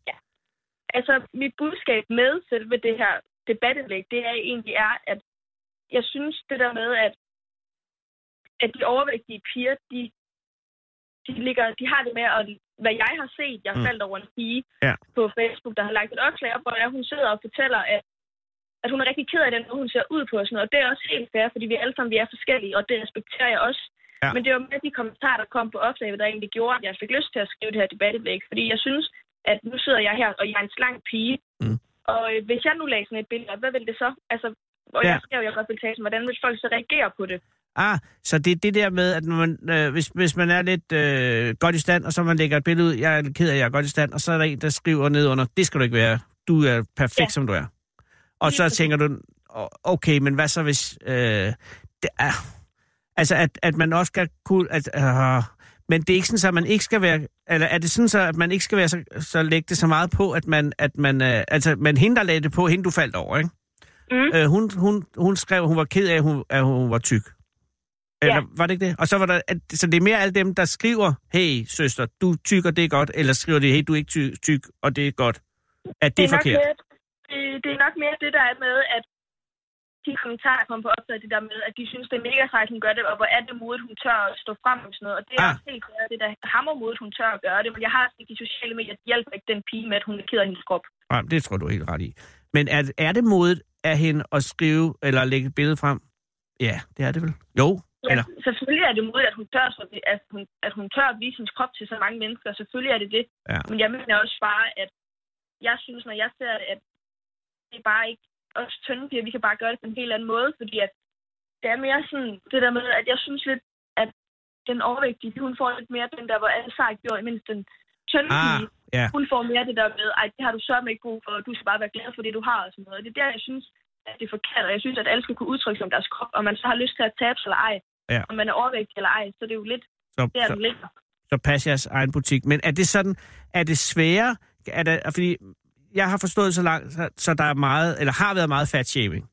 [SPEAKER 3] altså, mit budskab med selve det her debatindlæg, det er egentlig er, at jeg synes det der med, at, at de overvægtige piger, de, de, ligger, de har det med, at, hvad jeg har set, jeg
[SPEAKER 5] Mm.
[SPEAKER 3] mm. faldt over en pige
[SPEAKER 5] Ja.
[SPEAKER 3] på Facebook, der har lagt et opslag op, hvor jeg- hun sidder og fortæller, at, at hun er rigtig ked af den, måde, hun ser ud på og sådan noget. Og det er også helt fair, fordi vi alle sammen vi er forskellige, og det respekterer jeg også.
[SPEAKER 5] Ja.
[SPEAKER 3] Ja. Men det var med de kommentarer, der kom på opslaget, der egentlig gjorde, at jeg fik lyst til at skrive det her debatindlæg. Fordi jeg synes, at nu sidder jeg her, og jeg er en slank pige.
[SPEAKER 5] Mm.
[SPEAKER 3] Og øh, hvis jeg nu lagde sådan et billede op, hvad ville det så? Altså, og
[SPEAKER 5] Ja.
[SPEAKER 3] jeg skrev jo i repræsentationen, hvordan vil folk så reagere på det?
[SPEAKER 5] Ah, så det er det der med, at når man, øh, hvis, hvis man er lidt øh, godt i stand, og så man lægger et billede ud, jeg er lidt ked af, jeg er godt i stand, og så er der en, der skriver ned under, det skal du ikke være, du er perfekt, ja.
[SPEAKER 3] Ja.
[SPEAKER 5] som du er. Og
[SPEAKER 3] Lige
[SPEAKER 5] så
[SPEAKER 3] præcis.
[SPEAKER 5] tænker du, o- okay, men hvad så hvis... Øh, det er, altså, at, at man også skal kunne... At, øh, men det er ikke sådan, at man ikke skal være... Eller er det sådan så, at man ikke skal være så, så lægge det så meget på, at man... At man øh, altså, man hende, der lagde det på, hende du faldt over, ikke?
[SPEAKER 3] Mm.
[SPEAKER 5] Øh, hun, hun, hun skrev, hun var ked af, at hun, at hun var tyk. Eller
[SPEAKER 3] Ja.
[SPEAKER 5] var det ikke det? Og så var der, at, så det er mere alle dem, der skriver, hey søster, du er tyk, og det er godt, eller skriver de, hey du er ikke tyk, tyk og det er godt. At det er
[SPEAKER 3] nok
[SPEAKER 5] forkert.
[SPEAKER 3] Mere, det, det er nok mere det, der er med, at de kommentarer, der kommer på opslaget, det der med, at de synes, det er mega sejt, hun gør det, og hvor er det modigt, hun tør at stå frem om sådan noget. Og det er
[SPEAKER 5] Ah.
[SPEAKER 3] ah. også helt klart, det der hammer modigt, hun tør at gøre det. Men jeg har ikke de sociale medier, de hjælper ikke den pige med, at hun er ked af hendes krop.
[SPEAKER 5] Nej, det tror du er helt ret i. Men er, er det modigt af hende at skrive eller lægge et billede frem? Ja, det er det vel. Jo,
[SPEAKER 3] Ja,
[SPEAKER 5] Eller?
[SPEAKER 3] selvfølgelig er det modigt, at hun, tør, at stå- at, hun, at hun tør at vise sin krop til så mange mennesker. Selvfølgelig er det det.
[SPEAKER 5] Ja.
[SPEAKER 3] Men jeg mener også bare, at jeg synes, når jeg ser det, at det er bare ikke os tynde piger, vi kan bare gøre det på en helt anden måde, fordi at det er mere sådan det der med, at jeg synes lidt, at den overvægtige, pige, hun får lidt mere den der, hvor alle sagt gjorde, mens den tynde
[SPEAKER 5] Ah,
[SPEAKER 3] pige,
[SPEAKER 5] ja.
[SPEAKER 3] hun får mere det der med, ej, det har du sørme ikke brug for, og du skal bare være glad for det, du har, og sådan noget. Det er der, jeg synes, at det er forkert, og jeg synes, at alle skal kunne udtrykke sig om deres krop, og man så har lyst til at tabe sig eller ej,
[SPEAKER 5] Ja.
[SPEAKER 3] om man er overvægtig eller ej, så det er jo lidt
[SPEAKER 5] så,
[SPEAKER 3] der,
[SPEAKER 5] så,
[SPEAKER 3] den ligger.
[SPEAKER 5] så pas jeres egen butik. Men er det sådan, er det sværere? Er det, fordi jeg har forstået så langt, så, så der er meget, eller har været meget fatshaming.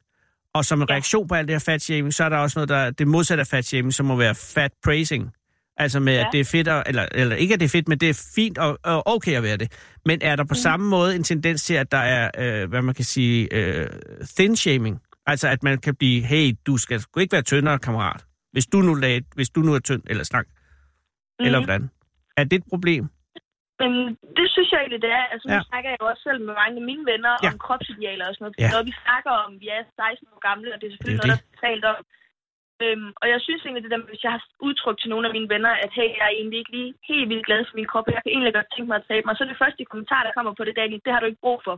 [SPEAKER 5] Og som en ja.
[SPEAKER 3] Ja.
[SPEAKER 5] reaktion på alt det her fatshaming, så er der også noget, der er det modsatte af fatshaming, som må være fat praising. Altså med, ja. at
[SPEAKER 3] Ja.
[SPEAKER 5] det er fedt, og, eller, eller ikke at det er fedt, men det er fint og, og okay at være det. Men er der på mm. samme måde en tendens til, at der er, øh, hvad man kan sige, øh, thin shaming? Altså at man kan blive, hey, du skal sgu ikke være tyndere, kammerat. Hvis du nu, lag, hvis du nu er tynd eller slank, mm.
[SPEAKER 3] Mhm.
[SPEAKER 5] eller hvordan? Er det et problem?
[SPEAKER 3] Men det synes jeg egentlig, det er. Altså, nu
[SPEAKER 5] Ja.
[SPEAKER 3] ja. snakker jeg jo også selv med mange af mine venner
[SPEAKER 5] Ja.
[SPEAKER 3] ja. om kropsidealer og sådan noget.
[SPEAKER 5] Ja.
[SPEAKER 3] Ja. Når vi snakker om, vi er 16 år gamle, og det er selvfølgelig
[SPEAKER 5] Det er jo
[SPEAKER 3] noget, der er talt om. Øhm, og jeg synes egentlig, det der, med, hvis jeg har udtrykt til nogle af mine venner, at hey, jeg er egentlig ikke lige helt vildt glad for min krop, og jeg kan egentlig godt tænke mig at tabe mig, så er det første kommentar, der kommer på det, Daniel, det har du ikke brug for.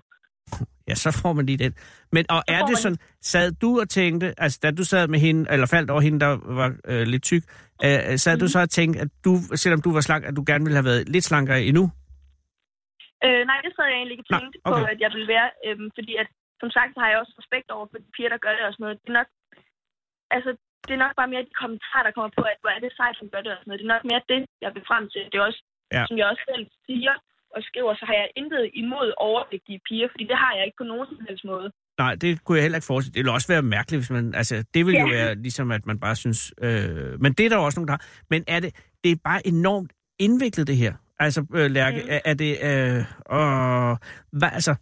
[SPEAKER 5] Ja, så får man lige den. Men og
[SPEAKER 3] Så
[SPEAKER 5] er
[SPEAKER 3] får
[SPEAKER 5] det
[SPEAKER 3] man
[SPEAKER 5] sådan, sad du og tænkte, altså da du sad med hende, eller faldt over hende, der var øh, lidt tyk, øh, sad mm.
[SPEAKER 3] Mhm.
[SPEAKER 5] du så og tænkte, at du, selvom du var slank, at du gerne ville have været lidt slankere endnu?
[SPEAKER 3] Øh, nej, det sad jeg egentlig ikke
[SPEAKER 5] Nå,
[SPEAKER 3] tænkt okay. på,
[SPEAKER 5] okay.
[SPEAKER 3] at jeg ville være. Øhm, fordi at, som sagt, så har jeg også respekt over for de piger, der gør det og sådan noget. Det er nok, altså, det er nok bare mere de kommentarer, der kommer på, at hvor er det sejt, som gør det og sådan noget. Det er nok mere det, jeg vil frem til. Det er også,
[SPEAKER 5] Ja.
[SPEAKER 3] ja. som jeg også selv siger og skriver, så har jeg intet imod overvægtige piger, fordi det har jeg ikke på nogen som helst måde.
[SPEAKER 5] Nej, det kunne jeg heller ikke forestille. Det ville også være mærkeligt, hvis man... Altså, det ville jo
[SPEAKER 3] Ja.
[SPEAKER 5] være ligesom, at man bare synes... Øh, men det er der jo også nogen, der har. Men er det, det er bare enormt indviklet, det her. Altså, øh, Lærke,
[SPEAKER 3] Mm.
[SPEAKER 5] er, er det... Øh, og, hvad, altså,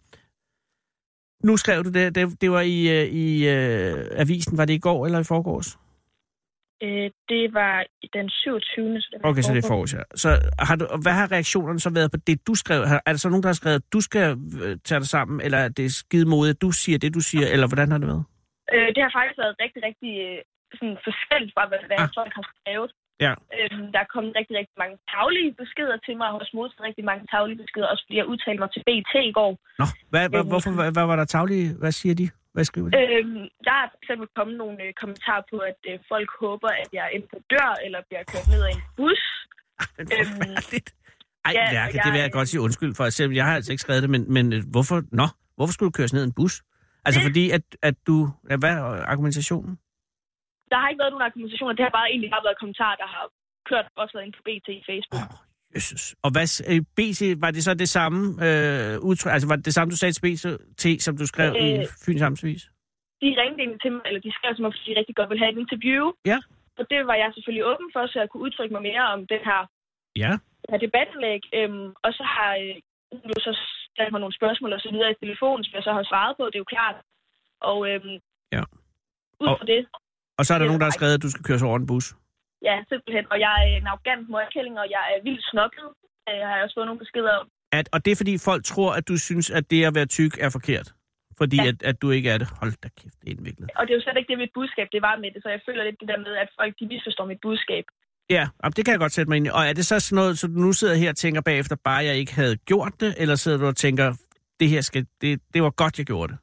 [SPEAKER 5] nu skrev du det, det, det var i, øh, i øh, avisen, var det i går eller i forgårs?
[SPEAKER 3] Øh, det var den 27. Så det var
[SPEAKER 5] Okay, så det er i forgårs,
[SPEAKER 3] forgårs.
[SPEAKER 5] ja. Så har du, og hvad har reaktionerne så været på det, du skrev? Har- Er der så nogen, der har skrevet, at du skal øh, tage dig sammen, eller er det skide modigt, at du siger det, du siger, eller hvordan har det været?
[SPEAKER 3] Øh, det har faktisk været rigtig, rigtig øh, sådan forskelligt fra, hvad, hvad
[SPEAKER 5] Ah.
[SPEAKER 3] ah. folk har skrevet.
[SPEAKER 5] Ja.
[SPEAKER 3] Øhm, der er kommet rigtig, rigtig mange taglige beskeder til mig, og jeg har også modtaget rigtig mange taglige beskeder, også fordi jeg udtalte mig til BT i går.
[SPEAKER 5] Nå, hvad, hvad,
[SPEAKER 3] Øh,
[SPEAKER 5] hvorfor, hvad, hvad var der taglige? Hvad siger de? Hvad skriver de?
[SPEAKER 3] Øhm, der er for eksempel kommet nogle øh, kommentarer på, at øh, folk håber, at jeg enten dør, eller bliver kørt ned af en bus. Øhm,
[SPEAKER 5] Øh, Ej,
[SPEAKER 3] ja,
[SPEAKER 5] Lærke,
[SPEAKER 3] jeg-
[SPEAKER 5] det vil jeg godt sige undskyld for, selvom jeg har altså ikke skrevet det, men, men øh, hvorfor, nå, hvorfor skulle du køres ned i en bus? Altså
[SPEAKER 3] Det-
[SPEAKER 5] fordi, at, at du... ja, Hvad er argumentationen?
[SPEAKER 3] Der har ikke været nogen argumentationer, det har bare egentlig bare været kommentarer, der har kørt også ind på BT i Facebook.
[SPEAKER 5] Åh, Jesus. Og hvad... s- øh, BC, var det så det samme øh, udtryk? Altså var det det samme, du sagde til BT, som du skrev øh, i
[SPEAKER 3] Øh,
[SPEAKER 5] Fyns Amtsvis?
[SPEAKER 3] de ringte egentlig til mig, eller de skrev til mig, fordi de rigtig godt ville have et interview.
[SPEAKER 5] Ja.
[SPEAKER 3] Og det var jeg selvfølgelig åben for, så jeg kunne udtrykke mig mere om den her,
[SPEAKER 5] Ja.
[SPEAKER 3] den her debatindlæg. Øhm, og så har øh, hun jo så stillet mig nogle spørgsmål og så videre i telefonen, som jeg så har svaret på, det er jo klart. Og øhm,
[SPEAKER 5] Ja.
[SPEAKER 3] ud
[SPEAKER 5] Og-
[SPEAKER 3] fra det,
[SPEAKER 5] Og så er der
[SPEAKER 3] det er
[SPEAKER 5] nogen, der har
[SPEAKER 3] korrekt.
[SPEAKER 5] skrevet, at du skal køres over en bus.
[SPEAKER 3] ja, simpelthen. Og jeg er en arrogant møgkælling, og jeg er vildt snobbet. Øh, har jeg også fået nogle beskeder om.
[SPEAKER 5] At, og det er fordi, folk tror, at du synes, at det at være tyk er forkert. Fordi ja.
[SPEAKER 3] Ja.
[SPEAKER 5] at, at du ikke er det. Hold da kæft, det er indviklet.
[SPEAKER 3] Og det er jo slet ikke det, mit budskab det var med det, så jeg føler lidt det der med, at folk de misforstår mit budskab.
[SPEAKER 5] Ja, jamen, det kan jeg godt sætte mig ind i. Og er det så sådan noget, så du nu sidder her og tænker bagefter, bare jeg ikke havde gjort det, eller sidder du og tænker, det her skal, det, det var godt, jeg gjorde det?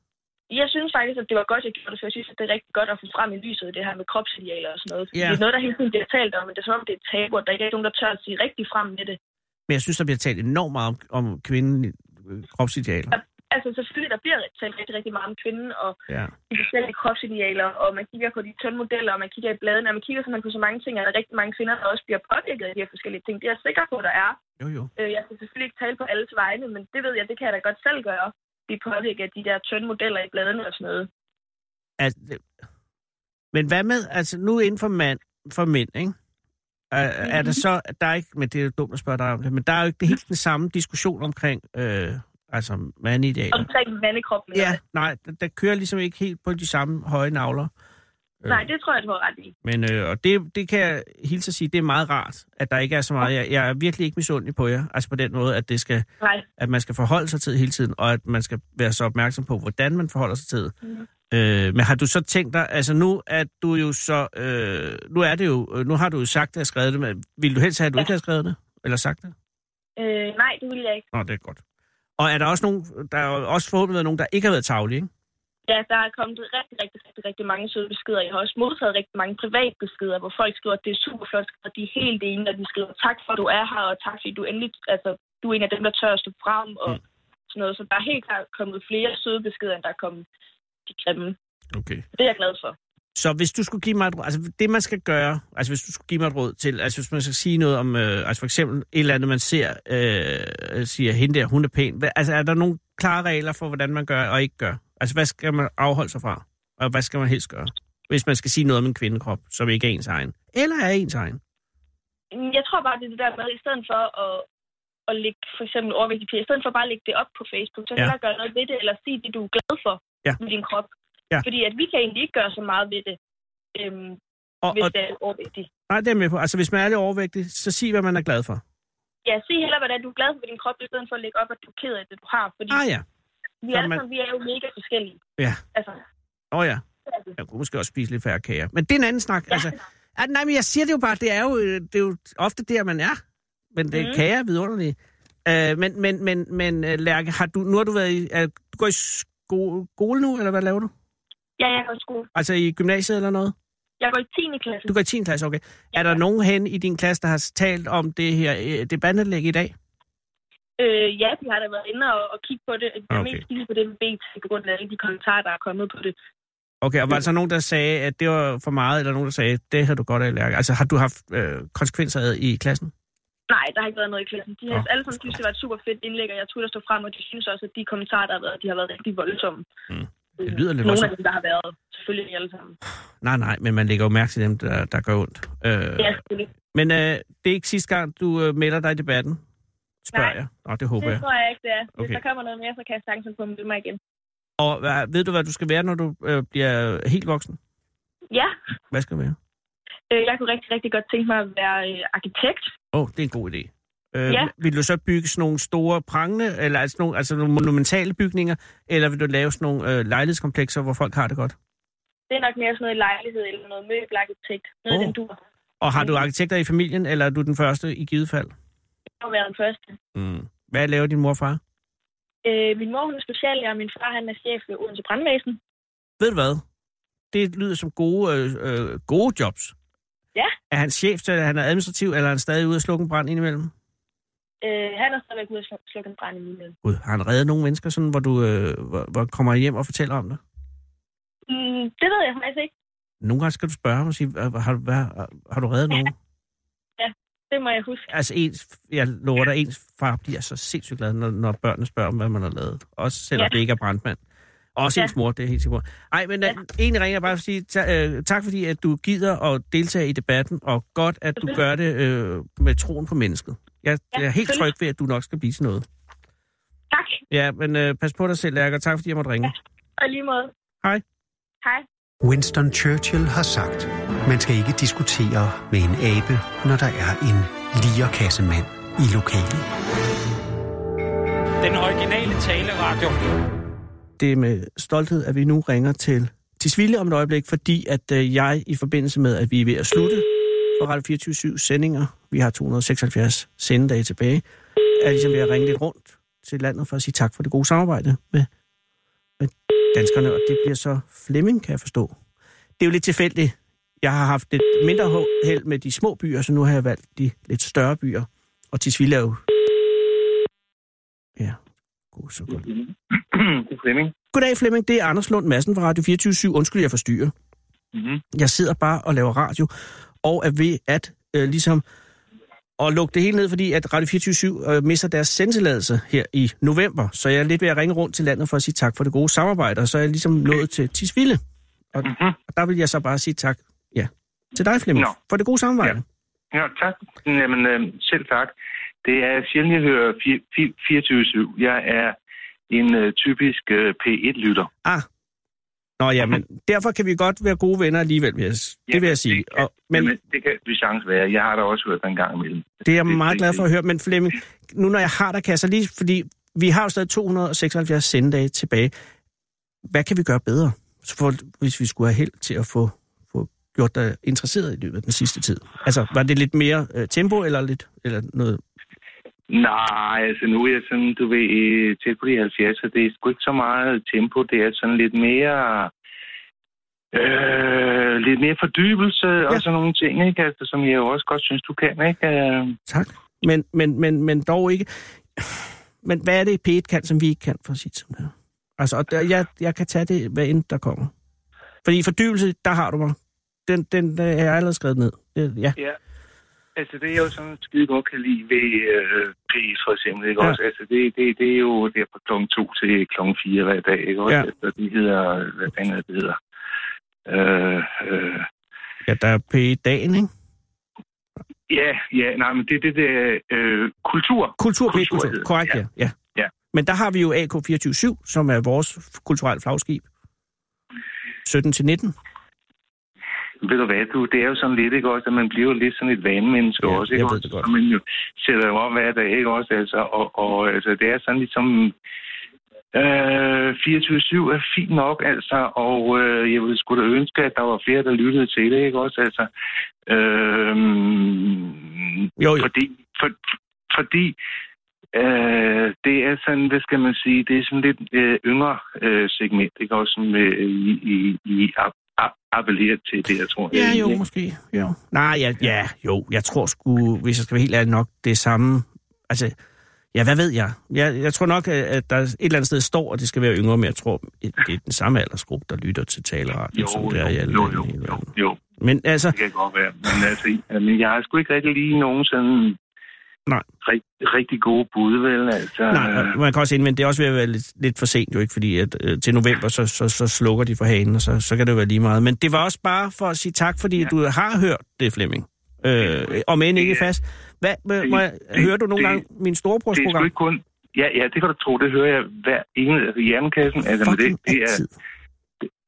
[SPEAKER 3] Jeg synes faktisk, at det var godt, jeg gjorde det, for jeg synes, at det er rigtig godt at få frem i lyset, det her med kropsidealer og sådan noget.
[SPEAKER 5] Ja.
[SPEAKER 3] Yeah. Det er noget, der hele tiden bliver talt om, men det er som om, det er et tabu, at der ikke er nogen, der tør at sige rigtig frem med det.
[SPEAKER 5] Men jeg synes, der bliver talt enormt meget om, om kvinden øh, kropsidealer.
[SPEAKER 3] altså selvfølgelig, der bliver talt rigtig, rigtig meget om kvinden, og
[SPEAKER 5] Ja.
[SPEAKER 3] de forskellige kropsidealer, og man kigger på de tønmodeller, og man kigger i bladene, og man kigger simpelthen på så mange ting, og der er rigtig mange kvinder, der også bliver påvirket af de her forskellige ting. Det er jeg sikker på, der er.
[SPEAKER 5] Jo, jo.
[SPEAKER 3] Øh, Jeg skal selvfølgelig ikke tale på alles vegne, men det ved jeg, det kan jeg da godt selv gøre. Blive påvirket af de der tønmodeller i bladene og sådan noget.
[SPEAKER 5] Altså, det- men hvad med, altså nu inden for, mand, for mænd, ikke? Er, er det så, der er ikke, men det er jo dumt at spørge dig om det, men der er jo ikke det helt den samme diskussion omkring, øh, altså mandidealer.
[SPEAKER 3] Omkring mandekroppen.
[SPEAKER 5] Ja, nej, der, der kører ligesom ikke helt på de samme høje navler.
[SPEAKER 3] Nej, det tror jeg, du har ret i.
[SPEAKER 5] Men øh, og det, det kan jeg hilse at sige, det er meget rart, at der ikke er så meget. Jeg, jeg er virkelig ikke misundelig på jer, altså på den måde, at, det skal,
[SPEAKER 3] Nej.
[SPEAKER 5] at man skal forholde sig til det hele tiden, og at man skal være så opmærksom på, hvordan man forholder sig til det.
[SPEAKER 3] Mhm.
[SPEAKER 5] Øh, men har du så tænkt dig, altså nu at du jo så, øh, nu er det jo, øh, nu har du jo sagt det og skrevet det, men ville du helst have, at du ikke havde skrevet det? Eller sagt det?
[SPEAKER 3] Øh, nej, det vil jeg ikke.
[SPEAKER 5] Nå, det er godt. Og er der også nogen, der er jo også forhåbentlig været nogen, der ikke har været tavlige, ikke?
[SPEAKER 3] Ja, der er kommet rigtig, rigtig, rigtig, rigtig mange søde beskeder. Jeg har også modtaget rigtig mange privatbeskeder, hvor folk skriver, at det er super flot, og de er helt enige, og de skriver, tak for, at du er her, og tak fordi du endelig, altså, du er en af dem, der tør at stå frem, og
[SPEAKER 5] Mm.
[SPEAKER 3] sådan noget. Så der er helt klart kommet flere søde beskeder, end der er kommet de grimme.
[SPEAKER 5] Okay.
[SPEAKER 3] Det er jeg glad for.
[SPEAKER 5] Så hvis du skulle give mig et råd, altså det man skal gøre, altså hvis du skulle give mig et råd til, altså hvis man skal sige noget om, øh, altså for eksempel et eller andet, man ser, øh, siger, hende der, hun er pæn. Hvad, altså er der nogle klare regler for, hvordan man gør og ikke gør? Altså hvad skal man afholde sig fra? Og hvad skal man helst gøre? Hvis man skal sige noget om en kvindekrop, som ikke er ens egen. Eller er ens egen.
[SPEAKER 3] Mm, Jeg tror bare, det er det der med, i stedet for at, at lægge for eksempel overvægtig pige, i stedet for bare at lægge det op på Facebook, så
[SPEAKER 5] Ja.
[SPEAKER 3] kan ja. gøre noget ved det, eller sige det, du er glad for
[SPEAKER 5] Ja.
[SPEAKER 3] med din krop.
[SPEAKER 5] Ja.
[SPEAKER 3] Fordi at vi kan egentlig ikke gøre så meget ved det, øhm,
[SPEAKER 5] Og,
[SPEAKER 3] hvis
[SPEAKER 5] og,
[SPEAKER 3] det er overvægtig.
[SPEAKER 5] nej, det er jeg med på. Altså hvis man er lidt overvægtig, så sig, hvad man er glad for.
[SPEAKER 3] Ja, sig heller, hvordan du er glad for din krop, i stedet for at lægge op, at du er ked af det, du har. Fordi
[SPEAKER 5] Ah ja.
[SPEAKER 3] vi,
[SPEAKER 5] så
[SPEAKER 3] alle
[SPEAKER 5] man-
[SPEAKER 3] sammen, vi er jo mega forskellige.
[SPEAKER 5] Ja.
[SPEAKER 3] Altså,
[SPEAKER 5] Åh oh, ja. Jeg kunne måske også spise lidt færre kager. Men det er en anden snak. Ja. Altså, at, nej, men jeg siger det jo bare, det er jo, øh, det er jo ofte der, man er. Men det mm.
[SPEAKER 3] Mhm.
[SPEAKER 5] kager er vidunderlige. Øh, men, men, men, men øh, Lærke, har du, nu har du været i, er, du går i sko- skole nu, eller hvad laver du?
[SPEAKER 3] ja, jeg går i skole.
[SPEAKER 5] Altså i gymnasiet eller noget?
[SPEAKER 3] Jeg går i 10. klasse.
[SPEAKER 5] Du går i 10. klasse, okay. Er der nogen hen i din klasse, der har talt om det her, øh, det bandelæg i dag?
[SPEAKER 3] Øh, ja, de har da været inde og, og kigge på det. Jeg er
[SPEAKER 5] Okay.
[SPEAKER 3] mest kigget på det med BT, på grund af alle de kommentarer, der er kommet på det.
[SPEAKER 5] Okay, og var der så nogen, der sagde, at det var for meget, eller nogen, der sagde, det havde du godt af, Lærke? Altså har du haft øh, konsekvenser af i klassen?
[SPEAKER 3] Nej, der har ikke været noget i klassen. De har
[SPEAKER 5] Nå.
[SPEAKER 3] alle sammen synes, det var et super fedt indlæg, og jeg tror, der står frem, og de synes også, at de kommentarer, der har været, de har været rigtig voldsomme.
[SPEAKER 5] Mm.
[SPEAKER 3] Øh,
[SPEAKER 5] Det lyder lidt
[SPEAKER 3] Nogle af
[SPEAKER 5] voldsomt.
[SPEAKER 3] dem, der har været. Selvfølgelig ikke alle sammen.
[SPEAKER 5] Nej, nej, men man lægger jo mærke til dem, der, der gør ondt. Øh,
[SPEAKER 3] Ja, selvfølgelig.
[SPEAKER 5] Men øh, det er ikke sidste gang, du øh, melder dig i debatten, spørger
[SPEAKER 3] Nej.
[SPEAKER 5] jeg. Nå, det håber
[SPEAKER 3] Det
[SPEAKER 5] jeg.
[SPEAKER 3] tror jeg ikke, det er. Hvis
[SPEAKER 5] Okay.
[SPEAKER 3] der kommer noget mere, så kan jeg sagtens på med mig igen.
[SPEAKER 5] Og hvad, ved du, hvad du skal være, når du øh, bliver helt voksen?
[SPEAKER 3] Ja,
[SPEAKER 5] Hvad skal du være?
[SPEAKER 3] øh, jeg kunne rigtig, rigtig godt tænke mig at være øh, arkitekt.
[SPEAKER 5] Åh, oh, det er en god idé. Øh,
[SPEAKER 3] Ja.
[SPEAKER 5] Vil du så bygge sådan nogle store prangende, eller altså nogle, altså nogle monumentale bygninger, eller vil du lave sådan nogle øh, lejlighedskomplekser, hvor folk har det godt?
[SPEAKER 3] Det er nok mere sådan noget lejlighed eller noget møbelarkitekt. Noget
[SPEAKER 5] Åh.
[SPEAKER 3] oh. den du
[SPEAKER 5] Og har du arkitekter i familien, eller er du den første i givet fald?
[SPEAKER 3] har været den første.
[SPEAKER 5] Mm. Hvad laver din mor og far?
[SPEAKER 3] Øh, min mor hun er speciallærer, og min far han er chef ved Odense Brandvæsen.
[SPEAKER 5] Ved du hvad? Det lyder som gode, øh, øh, gode jobs.
[SPEAKER 3] Ja.
[SPEAKER 5] Er han chef, eller han er administrativ, eller er han stadig ude at slukke en brand indimellem?
[SPEAKER 3] Øh, han er stadigvæk ude at slå- slukke en brand i min møde.
[SPEAKER 5] Gud, har han reddet nogle mennesker, sådan, hvor du øh, hvor, hvor kommer hjem og fortæller om det?
[SPEAKER 3] Mm, det ved jeg faktisk ikke.
[SPEAKER 5] Nogle gange skal du spørge ham og sige, "Hva- har, du- hvad, har du reddet nogen?
[SPEAKER 3] Det må jeg huske.
[SPEAKER 5] altså, ens, jeg lover dig, ens far bliver så sindssygt glad, når, når børnene spørger om, hvad man har lavet. Også selvom ja.
[SPEAKER 3] Ja.
[SPEAKER 5] det ikke er brandmand. Også ja.
[SPEAKER 3] Ja.
[SPEAKER 5] ens mor, det er helt sikkert. Ej, men ja.
[SPEAKER 3] Ja.
[SPEAKER 5] egentlig ringer jeg bare for at sige ta- øh, tak, fordi at du gider at deltage i debatten, og godt, at du gør det øh, med troen på mennesket. Jeg,
[SPEAKER 3] Ja,
[SPEAKER 5] jeg er helt tryg
[SPEAKER 3] selvfølgelig.
[SPEAKER 5] ved, at du nok skal blive til noget.
[SPEAKER 3] Tak,
[SPEAKER 5] Ja, men øh, pas på dig selv, Lærke, og tak fordi jeg måtte ringe.
[SPEAKER 3] og i lige måde.
[SPEAKER 5] Hej.
[SPEAKER 3] Hej.
[SPEAKER 1] Winston Churchill har sagt, man skal ikke diskutere med en abe, når der er en lierkassemand i lokalet.
[SPEAKER 10] Den originale taleradio.
[SPEAKER 5] det er med stolthed, at vi nu ringer til Tisvilde om et øjeblik, fordi at øh, jeg i forbindelse med, at vi er ved at slutte for Radio 24 sendinger, vi har 276 sendedage tilbage, er ligesom ved at ringe lidt rundt til landet for at sige tak for det gode samarbejde med, med danskerne, og det bliver så Flemming, kan jeg forstå. Det er jo lidt tilfældigt. Jeg har haft lidt mindre held med de små byer, så nu har jeg valgt de lidt større byer, og Tisvilde er jo... Ja, God, så godt.
[SPEAKER 10] Det er Flemming.
[SPEAKER 5] Goddag Flemming, det er Anders Lund Madsen fra Radio 24 Undskyld, jeg forstyrrer.
[SPEAKER 10] Mm-hmm.
[SPEAKER 5] Jeg sidder bare og laver radio, og er ved at øh, ligesom at lukke det hele ned, fordi at Radio 24 øh, mister deres sendtilladelse her i november. Så jeg er lidt ved at ringe rundt til landet for at sige tak for det gode samarbejde, og så er jeg ligesom nået til Tisvilde. Og,
[SPEAKER 10] Mhm.
[SPEAKER 5] og der vil jeg så bare sige tak ja, til dig, Flemming,
[SPEAKER 10] Nå.
[SPEAKER 5] for det gode samarbejde. Ja.
[SPEAKER 10] Ja, tak. Jamen, øh, selv tak. Det er sjældent, jeg hører fi- fi- 24-7. Jeg er en øh, typisk øh, P1-lytter.
[SPEAKER 5] Ah. Nå ja, men derfor kan vi godt være gode venner alligevel, vil jeg, s-
[SPEAKER 10] Ja,
[SPEAKER 5] det vil jeg sige.
[SPEAKER 10] det kan-
[SPEAKER 5] Og, men
[SPEAKER 10] Jamen, det kan vi chance være. Jeg har da også hørt den gang imellem.
[SPEAKER 5] Det er jeg
[SPEAKER 10] Det-
[SPEAKER 5] meget
[SPEAKER 10] det-
[SPEAKER 5] glad for at
[SPEAKER 10] det-
[SPEAKER 5] høre. Men Flemming, nu når jeg har dig, kan jeg så lige... Fordi vi har jo stadig 276 sendedage tilbage. Hvad kan vi gøre bedre, Så for, hvis vi skulle have held til at få, få gjort dig interesseret i løbet af den sidste tid? Altså, var det lidt mere øh, tempo, eller lidt eller noget?
[SPEAKER 10] Nej, altså nu er jeg sådan, du ved, øh, tæt på de 70, så det er sgu ikke så meget tempo. Det er sådan lidt mere... Øh, lidt mere fordybelse ja. og sådan nogle ting, ikke? Altså, som jeg jo også godt synes, du kan, ikke? Øh,
[SPEAKER 5] Tak. Men, men, men, men dog ikke... Men hvad er det, P1 kan, som vi ikke kan, for at sige det sådan her? Altså, og der, jeg, jeg kan tage det, hvad end der kommer. Fordi fordybelse, der har du mig. Den, den øh, er jeg allerede skrevet ned. Det, ja.
[SPEAKER 10] Ja. Altså, det er jo sådan skide godt kan lide ved øh, P1 for eksempel, ikke
[SPEAKER 5] Ja.
[SPEAKER 10] ja. også? Altså, det, det, det er jo der fra klokken to til klokken fire hver dag, ikke også?
[SPEAKER 5] Ja.
[SPEAKER 10] Ja. Altså, det hedder, hvad fanden er det, det hedder? Øh, øh,
[SPEAKER 5] Ja, der er P1-dagen, ikke?
[SPEAKER 10] ja, ja, nej, men det er det der øh, kultur.
[SPEAKER 5] Kultur, P1
[SPEAKER 10] Kultur
[SPEAKER 5] kultur.
[SPEAKER 10] hedder det,
[SPEAKER 5] Korrekt, ja.
[SPEAKER 10] ja.
[SPEAKER 5] ja.
[SPEAKER 10] Ja.
[SPEAKER 5] Men der har vi jo AK247, som er vores f- kulturelle flagskib. 17-19.
[SPEAKER 10] Ved du hvad, du, det er jo sådan lidt, ikke også, at man bliver jo lidt sådan et vanemenneske
[SPEAKER 5] Ja,
[SPEAKER 10] også, ikke
[SPEAKER 5] jeg ved
[SPEAKER 10] også?
[SPEAKER 5] det godt.
[SPEAKER 10] Så Man jo sætter jo op hver dag, ikke også? Altså, og, og altså, det er sådan ligesom... Øh, 24-7 er fint nok, altså, og øh, jeg ville sgu da ønske, at der var flere, der lyttede til det, ikke også? Altså, øh,
[SPEAKER 5] Jo, jo.
[SPEAKER 10] fordi, for, fordi øh, det er sådan, hvad skal man sige, det er sådan lidt øh, yngre øh, segment, ikke også, som øh, I, I, I app- app- appellerer til det, jeg tror.
[SPEAKER 5] Ja,
[SPEAKER 10] jeg,
[SPEAKER 5] jo, måske. Jo. Nej, ja, ja, jo. Jeg tror sgu, hvis jeg skal være helt ærlig nok, det er samme... Altså, ja, hvad ved jeg? jeg? Jeg tror nok, at- at der et eller andet sted står, at det skal være yngre, men jeg tror, at det er den samme aldersgruppe, der lytter til taleradio,
[SPEAKER 10] Jo,
[SPEAKER 5] som det er i
[SPEAKER 10] jo,
[SPEAKER 5] alle
[SPEAKER 10] jo,
[SPEAKER 5] lande
[SPEAKER 10] jo,
[SPEAKER 5] i hele
[SPEAKER 10] jo,
[SPEAKER 5] verden.
[SPEAKER 10] jo,
[SPEAKER 5] Men altså,
[SPEAKER 10] det kan godt være. Men altså, men jeg har sgu ikke rigtig lige nogen sådan
[SPEAKER 5] Nej.
[SPEAKER 10] Rigt, rigtig gode bud, vel? Altså,
[SPEAKER 5] Nej, og man kan også indvende, det er også ved at være lidt, lidt for sent jo ikke, fordi at, øh, til november, så, så, så slukker de for hanen, og så, så kan det jo være lige meget. Men det var også bare for at sige tak, fordi ja.
[SPEAKER 10] Ja.
[SPEAKER 5] du har hørt det, Flemming. Øh, om end ikke
[SPEAKER 10] Ja.
[SPEAKER 5] fast. Hvad, det, må jeg,
[SPEAKER 10] det-
[SPEAKER 5] hører du nogle
[SPEAKER 10] det-
[SPEAKER 5] gange min
[SPEAKER 10] det er sgu
[SPEAKER 5] storebrorsprogram?
[SPEAKER 10] ikke kun... Ja, ja, det kan du tro, det hører jeg hver ene i hjernekassen. Altså, men
[SPEAKER 5] Fucking
[SPEAKER 10] det, det, er,
[SPEAKER 5] altid.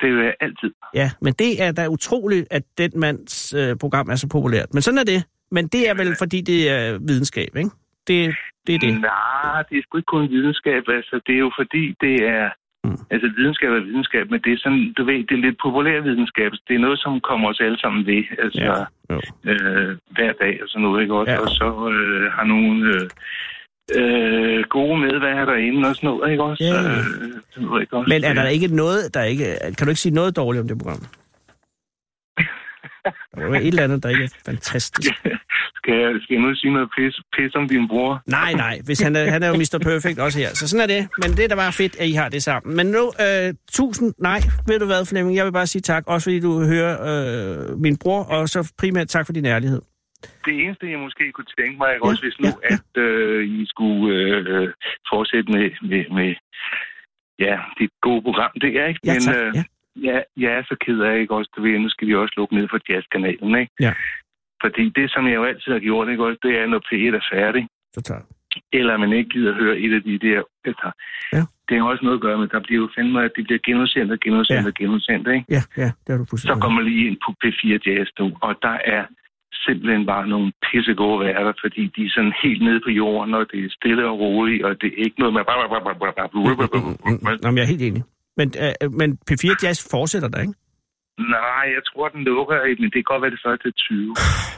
[SPEAKER 10] det hører jeg altid.
[SPEAKER 5] Ja, men det er da utroligt, at den mands øh, program er så populært. Men sådan er det. Men det er vel, fordi det er videnskab, ikke? Det, det er det.
[SPEAKER 10] Nej, det er sgu ikke kun videnskab. Altså, det er jo fordi, det er...
[SPEAKER 5] Mm.
[SPEAKER 10] Mm. Altså, videnskab er videnskab, men det er sådan, du ved, det er lidt populær videnskab. Det er noget, som kommer os alle sammen ved, altså,
[SPEAKER 5] Ja, jo.
[SPEAKER 10] ja. øh, hver dag og sådan noget, ikke også?
[SPEAKER 5] Ja.
[SPEAKER 10] Ja. Og så øh, har nogle øh, øh, gode medværter derinde og sådan noget, ikke også?
[SPEAKER 5] Ja.
[SPEAKER 10] Øh, sådan noget, ikke også? Øh.
[SPEAKER 5] Men er der ikke noget, der ikke... Kan du ikke sige noget dårligt om det program? Der må være et eller andet, der ikke er fantastisk.
[SPEAKER 10] Skal jeg, skal jeg nu sige noget pis, pis om din bror?
[SPEAKER 5] Nej, nej, hvis han, er, han er jo Mr. Perfect også her. Så sådan er det. Men det er da bare fedt, at I har det sammen. Men nu, øh, tusind nej, ved du hvad, Flemming? Jeg vil bare sige tak, også fordi du hører øh, min bror, og så primært tak for din ærlighed.
[SPEAKER 10] Det eneste, jeg måske kunne tænke mig, er
[SPEAKER 5] Ja,
[SPEAKER 10] også, hvis nu,
[SPEAKER 5] ja, ja.
[SPEAKER 10] at øh, I skulle øh, øh, fortsætte med, med, med ja, dit gode program. Det er ikke,
[SPEAKER 5] Ja, tak.
[SPEAKER 10] øh,
[SPEAKER 5] Ja.
[SPEAKER 10] ja, jeg er så ked af, ikke også? Du ved, nu skal vi også lukke ned for jazzkanalen, ikke?
[SPEAKER 5] Ja.
[SPEAKER 10] Fordi det, som jeg jo altid har gjort, ikke også, det er, når P1 er færdig,
[SPEAKER 5] Så tak.
[SPEAKER 10] eller man ikke gider høre et af de der... Altså,
[SPEAKER 5] Ja.
[SPEAKER 10] Det har også noget at gøre med, der bliver jo fandme, at det bliver genudsendt og genudsendt
[SPEAKER 5] Ja.
[SPEAKER 10] og genudsendt, ikke?
[SPEAKER 5] Ja, ja, det har du
[SPEAKER 10] Så
[SPEAKER 5] fuldstændig.
[SPEAKER 10] går man lige ind på P4 Jazz nu, og der er simpelthen bare nogle pissegode værter, fordi de er sådan helt nede på jorden, og det er stille og roligt, og det er ikke noget med...
[SPEAKER 5] Nå, men jeg er helt enig. Men, øh, men P4 Jazz fortsætter der, ikke?
[SPEAKER 10] Nej, jeg tror, den lukker, men det kan godt være det første 20.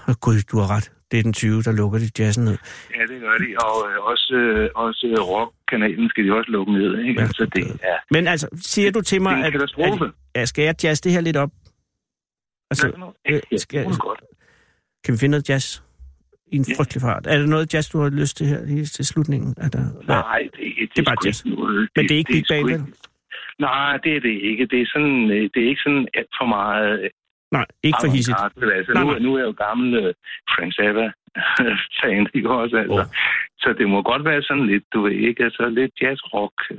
[SPEAKER 5] Åh, Gud, du har ret. Det er den 20, der lukker det jazzen ned.
[SPEAKER 10] Ja, det gør de, og øh, også, øh, også øh, rockkanalen skal de også lukke ned, ikke?
[SPEAKER 5] Ja.
[SPEAKER 10] Ja, så det er,
[SPEAKER 5] Men altså, siger du til
[SPEAKER 10] det
[SPEAKER 5] mig,
[SPEAKER 10] er en
[SPEAKER 5] at,
[SPEAKER 10] katastrofe.
[SPEAKER 5] at, at skal jeg jazz det her lidt op? Altså,
[SPEAKER 10] Hvad for noget? Ja,
[SPEAKER 5] øh, skal-
[SPEAKER 10] det er godt.
[SPEAKER 5] kan vi finde noget jazz? i en
[SPEAKER 10] Ja.
[SPEAKER 5] frygtelig fart. Er det noget jazz, du har lyst til her lige til slutningen? Er der,
[SPEAKER 10] Nej, det, det, det
[SPEAKER 5] er bare
[SPEAKER 10] sgu
[SPEAKER 5] jazz.
[SPEAKER 10] ikke noget.
[SPEAKER 5] Men det er ikke Big
[SPEAKER 10] sgu
[SPEAKER 5] Bang,
[SPEAKER 10] ikke- Nej, det er det ikke. Det er, sådan, øh, det er ikke sådan alt for meget... øh,
[SPEAKER 5] Nej, ikke for hissigt.
[SPEAKER 10] avantgarde, vel? Altså,
[SPEAKER 5] Nej,
[SPEAKER 10] nu,
[SPEAKER 5] nej.
[SPEAKER 10] nu er jeg jo gammel øh, Frank Zappa-fan, ikke også? Altså.
[SPEAKER 5] Åh.
[SPEAKER 10] Så det må godt være sådan lidt, du ved ikke, altså lidt jazz-rock. Øh,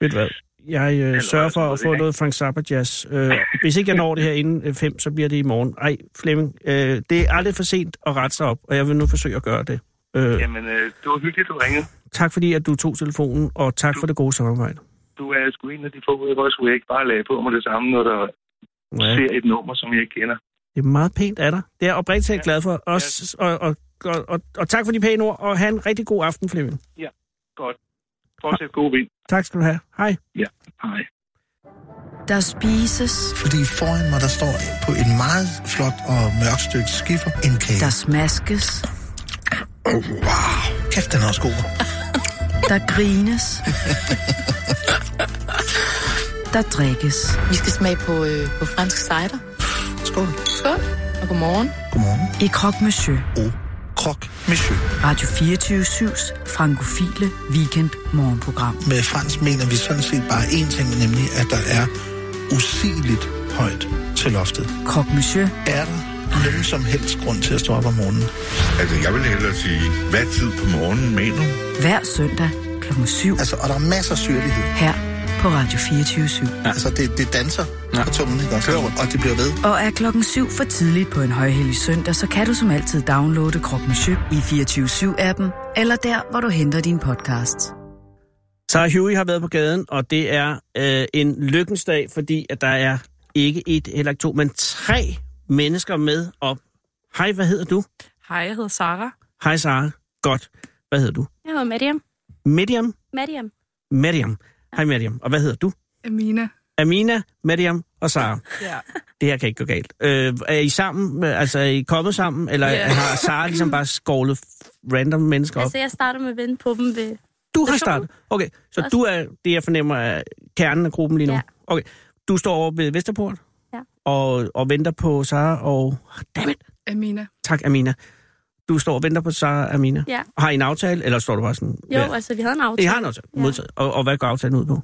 [SPEAKER 5] Ved du hvad? Jeg øh, sørger
[SPEAKER 10] også
[SPEAKER 5] for at
[SPEAKER 10] noget,
[SPEAKER 5] få
[SPEAKER 10] ikke?
[SPEAKER 5] noget Frank Zappa jazz. Øh, hvis ikke jeg når det her inden øh, fem, så bliver det i morgen. Ej, Flemming, øh, det er aldrig for sent at rette sig op, og jeg vil nu forsøge at gøre det. Øh,
[SPEAKER 10] Jamen, øh, det var hyggeligt, du ringede.
[SPEAKER 5] tak fordi, at du tog telefonen, og tak for det gode samarbejde.
[SPEAKER 10] Du er sgu en af de få, ikke også, hvor jeg ikke bare lagde på mig det samme, når der
[SPEAKER 5] Ja.
[SPEAKER 10] ser et nummer, som jeg ikke kender.
[SPEAKER 5] Det er meget pænt af dig. Det er jeg oprigtigt talt glad for. Også, og, og, og, og, og tak for de pæne ord, og have en rigtig god aften, Flemming.
[SPEAKER 10] Fortsæt god vind.
[SPEAKER 5] Tak skal du have. Hej.
[SPEAKER 10] Hej.
[SPEAKER 2] Der spises,
[SPEAKER 11] Fordi foran mig, der står på et meget flot og mørkt stykke skiffer en kage.
[SPEAKER 2] der smaskes,
[SPEAKER 11] Kæft, den er også god.
[SPEAKER 2] der grines, der drikkes.
[SPEAKER 12] Vi skal smage på, øh, på fransk cider.
[SPEAKER 11] Skål.
[SPEAKER 12] Skål. Og godmorgen.
[SPEAKER 11] Godmorgen.
[SPEAKER 2] I Croque Monsieur,
[SPEAKER 11] Krok Monsieur.
[SPEAKER 2] Radio 24-7's frankofile weekend morgenprogram.
[SPEAKER 11] Med fransk mener vi sådan set bare én ting, nemlig at der er usigeligt højt til loftet.
[SPEAKER 2] Croque Monsieur
[SPEAKER 11] Er der nogen som helst grund til at stå op om morgenen?
[SPEAKER 10] Altså, jeg vil hellere sige, hvad tid på morgenen mener du?
[SPEAKER 2] hver søndag kl. 7
[SPEAKER 11] Altså, og der er masser af syrlighed.
[SPEAKER 2] her på Radio 24
[SPEAKER 11] Ja. Altså, det, det danser ja. på tungen, ikke også? Og det bliver ved.
[SPEAKER 2] Og er klokken 7 for tidligt på en højhellig søndag, så kan du som altid downloade Croque Monsieur i 24-7-appen, eller der, hvor du henter dine podcasts.
[SPEAKER 5] Sarah Huey har været på gaden, og det er øh, en lykkens dag, fordi at der er ikke et eller to, men tre mennesker med op. Hej, hvad hedder du?
[SPEAKER 12] Hej, jeg hedder Sara.
[SPEAKER 5] Hej, Sarah. Godt. Hvad hedder du?
[SPEAKER 3] Jeg hedder Miriam.
[SPEAKER 5] Medium?
[SPEAKER 3] Miriam.
[SPEAKER 5] Medium. Hej, Medium. Og hvad hedder du?
[SPEAKER 12] Amina.
[SPEAKER 5] Amina, Medium og Sara.
[SPEAKER 12] Ja.
[SPEAKER 5] Det her kan ikke gå galt. Øh, er I sammen? Altså, er I kommet sammen? Eller
[SPEAKER 12] Ja.
[SPEAKER 5] har Sara ligesom bare skovlet random mennesker op?
[SPEAKER 3] Altså, jeg starter med at vende på dem ved...
[SPEAKER 5] Du har
[SPEAKER 3] Personen.
[SPEAKER 5] startet. Okay, så
[SPEAKER 3] Også.
[SPEAKER 5] du er det, jeg fornemmer, er kernen af gruppen lige nu. Ja.
[SPEAKER 3] Ja.
[SPEAKER 5] Okay, du står over ved Vesterport
[SPEAKER 3] Ja.
[SPEAKER 5] og, og venter på Sara og... Dammit.
[SPEAKER 12] Amina.
[SPEAKER 5] Tak, Amina. Du står og venter på Sara og Amina.
[SPEAKER 3] Ja.
[SPEAKER 5] Har I en aftale, eller står du bare sådan...
[SPEAKER 3] Jo, ja. altså, vi havde en
[SPEAKER 5] I
[SPEAKER 3] aftale.
[SPEAKER 5] har en aftale. Ja.
[SPEAKER 3] Ja.
[SPEAKER 5] Modtaget. Og, og hvad går aftalen ud på?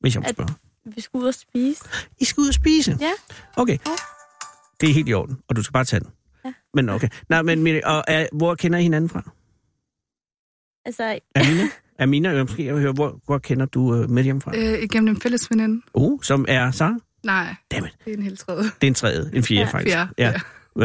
[SPEAKER 5] Hvis jeg må
[SPEAKER 3] At-
[SPEAKER 5] spørge.
[SPEAKER 3] Vi skulle ud og spise.
[SPEAKER 5] I skal ud og spise?
[SPEAKER 3] Ja.
[SPEAKER 5] Okay.
[SPEAKER 3] Ja.
[SPEAKER 5] Det er helt i orden, og du skal bare tage den.
[SPEAKER 3] Ja.
[SPEAKER 5] Men okay. Nej, men Miri, og er, hvor kender I hinanden fra?
[SPEAKER 3] Altså,
[SPEAKER 5] Amina? Amina, jeg måske jeg vil høre, hvor, hvor kender du uh, Miriam fra?
[SPEAKER 12] Øh, igennem en fælles veninde.
[SPEAKER 5] Oh, som er Sara?
[SPEAKER 12] Nej,
[SPEAKER 5] Dammit.
[SPEAKER 12] det er en helt tredje.
[SPEAKER 5] Det er en tredje, en fjerde ja,
[SPEAKER 3] Ja,
[SPEAKER 5] faktisk. Ja. ja.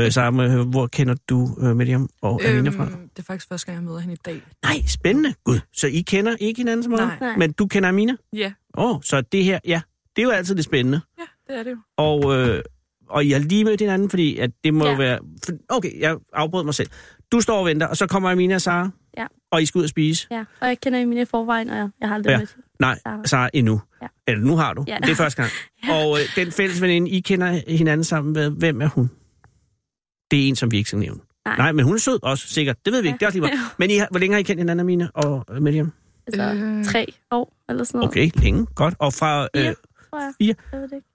[SPEAKER 5] Øh, så må jeg høre, hvor kender du øh, Miriam og Amina fra?
[SPEAKER 13] Øhm,
[SPEAKER 12] det er faktisk første gang, jeg møder hende i dag.
[SPEAKER 5] Nej, spændende. Gud, så I kender ikke hinanden så meget?
[SPEAKER 12] Nej.
[SPEAKER 3] nej.
[SPEAKER 5] Men du kender Amina?
[SPEAKER 12] Ja.
[SPEAKER 5] Åh, oh, så det her, ja, det er jo altid det spændende.
[SPEAKER 12] Ja, det er det jo.
[SPEAKER 5] Og, øh, og jeg har lige mødt hinanden, fordi at det må ja.
[SPEAKER 3] Ja.
[SPEAKER 5] være... for- Okay, jeg afbrød mig selv. Du står og venter, og så kommer Amina og Sara,
[SPEAKER 3] Ja.
[SPEAKER 5] og I skal ud og spise.
[SPEAKER 3] ja. Og jeg kender Emilie i forvejen, og jeg, jeg har aldrig
[SPEAKER 5] Ja.
[SPEAKER 3] ja. mødt hende.
[SPEAKER 5] Nej,
[SPEAKER 3] Sara.
[SPEAKER 5] Sara endnu.
[SPEAKER 3] Ja.
[SPEAKER 5] Eller nu har du.
[SPEAKER 3] Ja.
[SPEAKER 5] Det er første gang. Og øh, den fælles veninde, I kender hinanden sammen med, hvem er hun? Det er en, som vi ikke skal nævne.
[SPEAKER 3] Nej.
[SPEAKER 5] Nej, men hun er sød også, sikkert. Det ved vi ikke. Det er også lige meget. Men I, har- hvor længe har I kendt hinanden, Amina og øh, Miriam?
[SPEAKER 3] Altså,
[SPEAKER 12] Øh.
[SPEAKER 3] tre år eller sådan noget.
[SPEAKER 5] Okay, længe. Godt. Og, fra, øh,
[SPEAKER 3] Fire, tror jeg.
[SPEAKER 5] fire.
[SPEAKER 3] Jeg ved det ikke.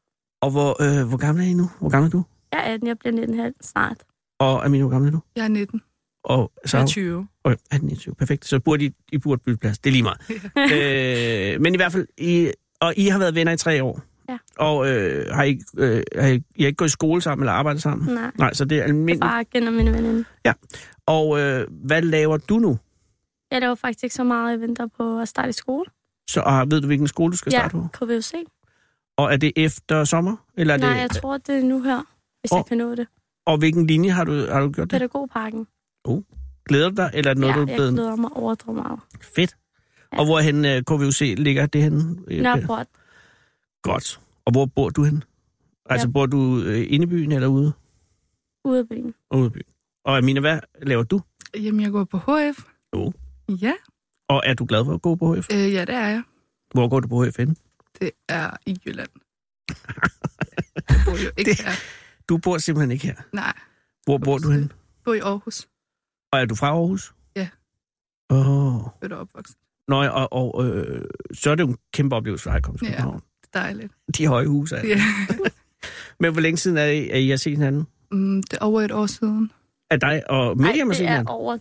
[SPEAKER 5] og hvor, øh, hvor gammel er I nu? Hvor gammel er du?
[SPEAKER 3] Jeg er 18, jeg bliver 19 halv snart.
[SPEAKER 5] Og Amina, hvor gammel er du?
[SPEAKER 12] Jeg er 19.
[SPEAKER 5] Og
[SPEAKER 12] Jeg
[SPEAKER 5] Sara?
[SPEAKER 12] er 20.
[SPEAKER 5] Okay, 18, 21, perfekt. Så burde I, I burde bytte plads. Det er lige meget. øh, men i hvert fald, I, og I har været venner i tre år.
[SPEAKER 3] Ja.
[SPEAKER 5] Og øh, har, I, øh, har I, I har ikke gået i skole sammen eller arbejdet sammen?
[SPEAKER 3] Nej.
[SPEAKER 5] Nej, så det er
[SPEAKER 3] Jeg
[SPEAKER 5] almindeligt.
[SPEAKER 3] bare kender mine veninde.
[SPEAKER 5] Og øh, hvad laver du nu?
[SPEAKER 3] Jeg laver faktisk ikke så meget, jeg venter på at starte i skole.
[SPEAKER 5] Så og ved du, hvilken skole du skal
[SPEAKER 3] ja,
[SPEAKER 5] starte på?
[SPEAKER 3] KVUC.
[SPEAKER 5] Og er det efter sommer? Eller er
[SPEAKER 3] Nej,
[SPEAKER 5] det,
[SPEAKER 3] jeg tror, det er nu her, hvis
[SPEAKER 5] Åh.
[SPEAKER 3] oh. jeg kan nå det.
[SPEAKER 5] Og hvilken linje har du, har du gjort det?
[SPEAKER 3] Pædagogparken.
[SPEAKER 5] Glæder du dig, eller er det noget,
[SPEAKER 3] ja,
[SPEAKER 5] du er
[SPEAKER 3] jeg
[SPEAKER 5] blevet...
[SPEAKER 3] glæder mig overdrevet meget.
[SPEAKER 5] Fedt.
[SPEAKER 3] Ja.
[SPEAKER 5] Og hvorhen øh, KVUC ligger det henne? Øh,
[SPEAKER 3] Nørreport.
[SPEAKER 5] Godt. Og hvor bor du henne? Altså,
[SPEAKER 3] Ja.
[SPEAKER 5] bor du øh, inde i byen eller ude?
[SPEAKER 3] Ude af byen.
[SPEAKER 5] ude i byen. Og Amina, hvad laver du?
[SPEAKER 12] Jamen, jeg går på HF.
[SPEAKER 5] Jo.
[SPEAKER 12] Ja,
[SPEAKER 5] Og er du glad for at gå på HF?
[SPEAKER 12] øh, ja, det er jeg.
[SPEAKER 5] Hvor går du på HF henne?
[SPEAKER 12] Det er i Jylland. jeg bor jo ikke
[SPEAKER 5] Det-
[SPEAKER 12] det... her.
[SPEAKER 5] Du bor simpelthen ikke her.
[SPEAKER 12] Nej,
[SPEAKER 5] Hvor bor du henne?
[SPEAKER 12] jeg bor i Aarhus.
[SPEAKER 5] Og er du fra Aarhus?
[SPEAKER 12] Ja.
[SPEAKER 5] Åh. Oh.
[SPEAKER 12] Født og opvokset.
[SPEAKER 5] Nå, ja, og, og øh, så er det jo en kæmpe oplevelse for dig at komme til
[SPEAKER 12] Ja.
[SPEAKER 5] København.
[SPEAKER 12] Dejligt.
[SPEAKER 5] De høje huse er
[SPEAKER 12] Ja.
[SPEAKER 5] Men hvor længe siden er I, er I har set hinanden?
[SPEAKER 12] Mm, det er over et år siden.
[SPEAKER 5] af dig og Miriam og
[SPEAKER 14] det er
[SPEAKER 5] Simon?
[SPEAKER 14] over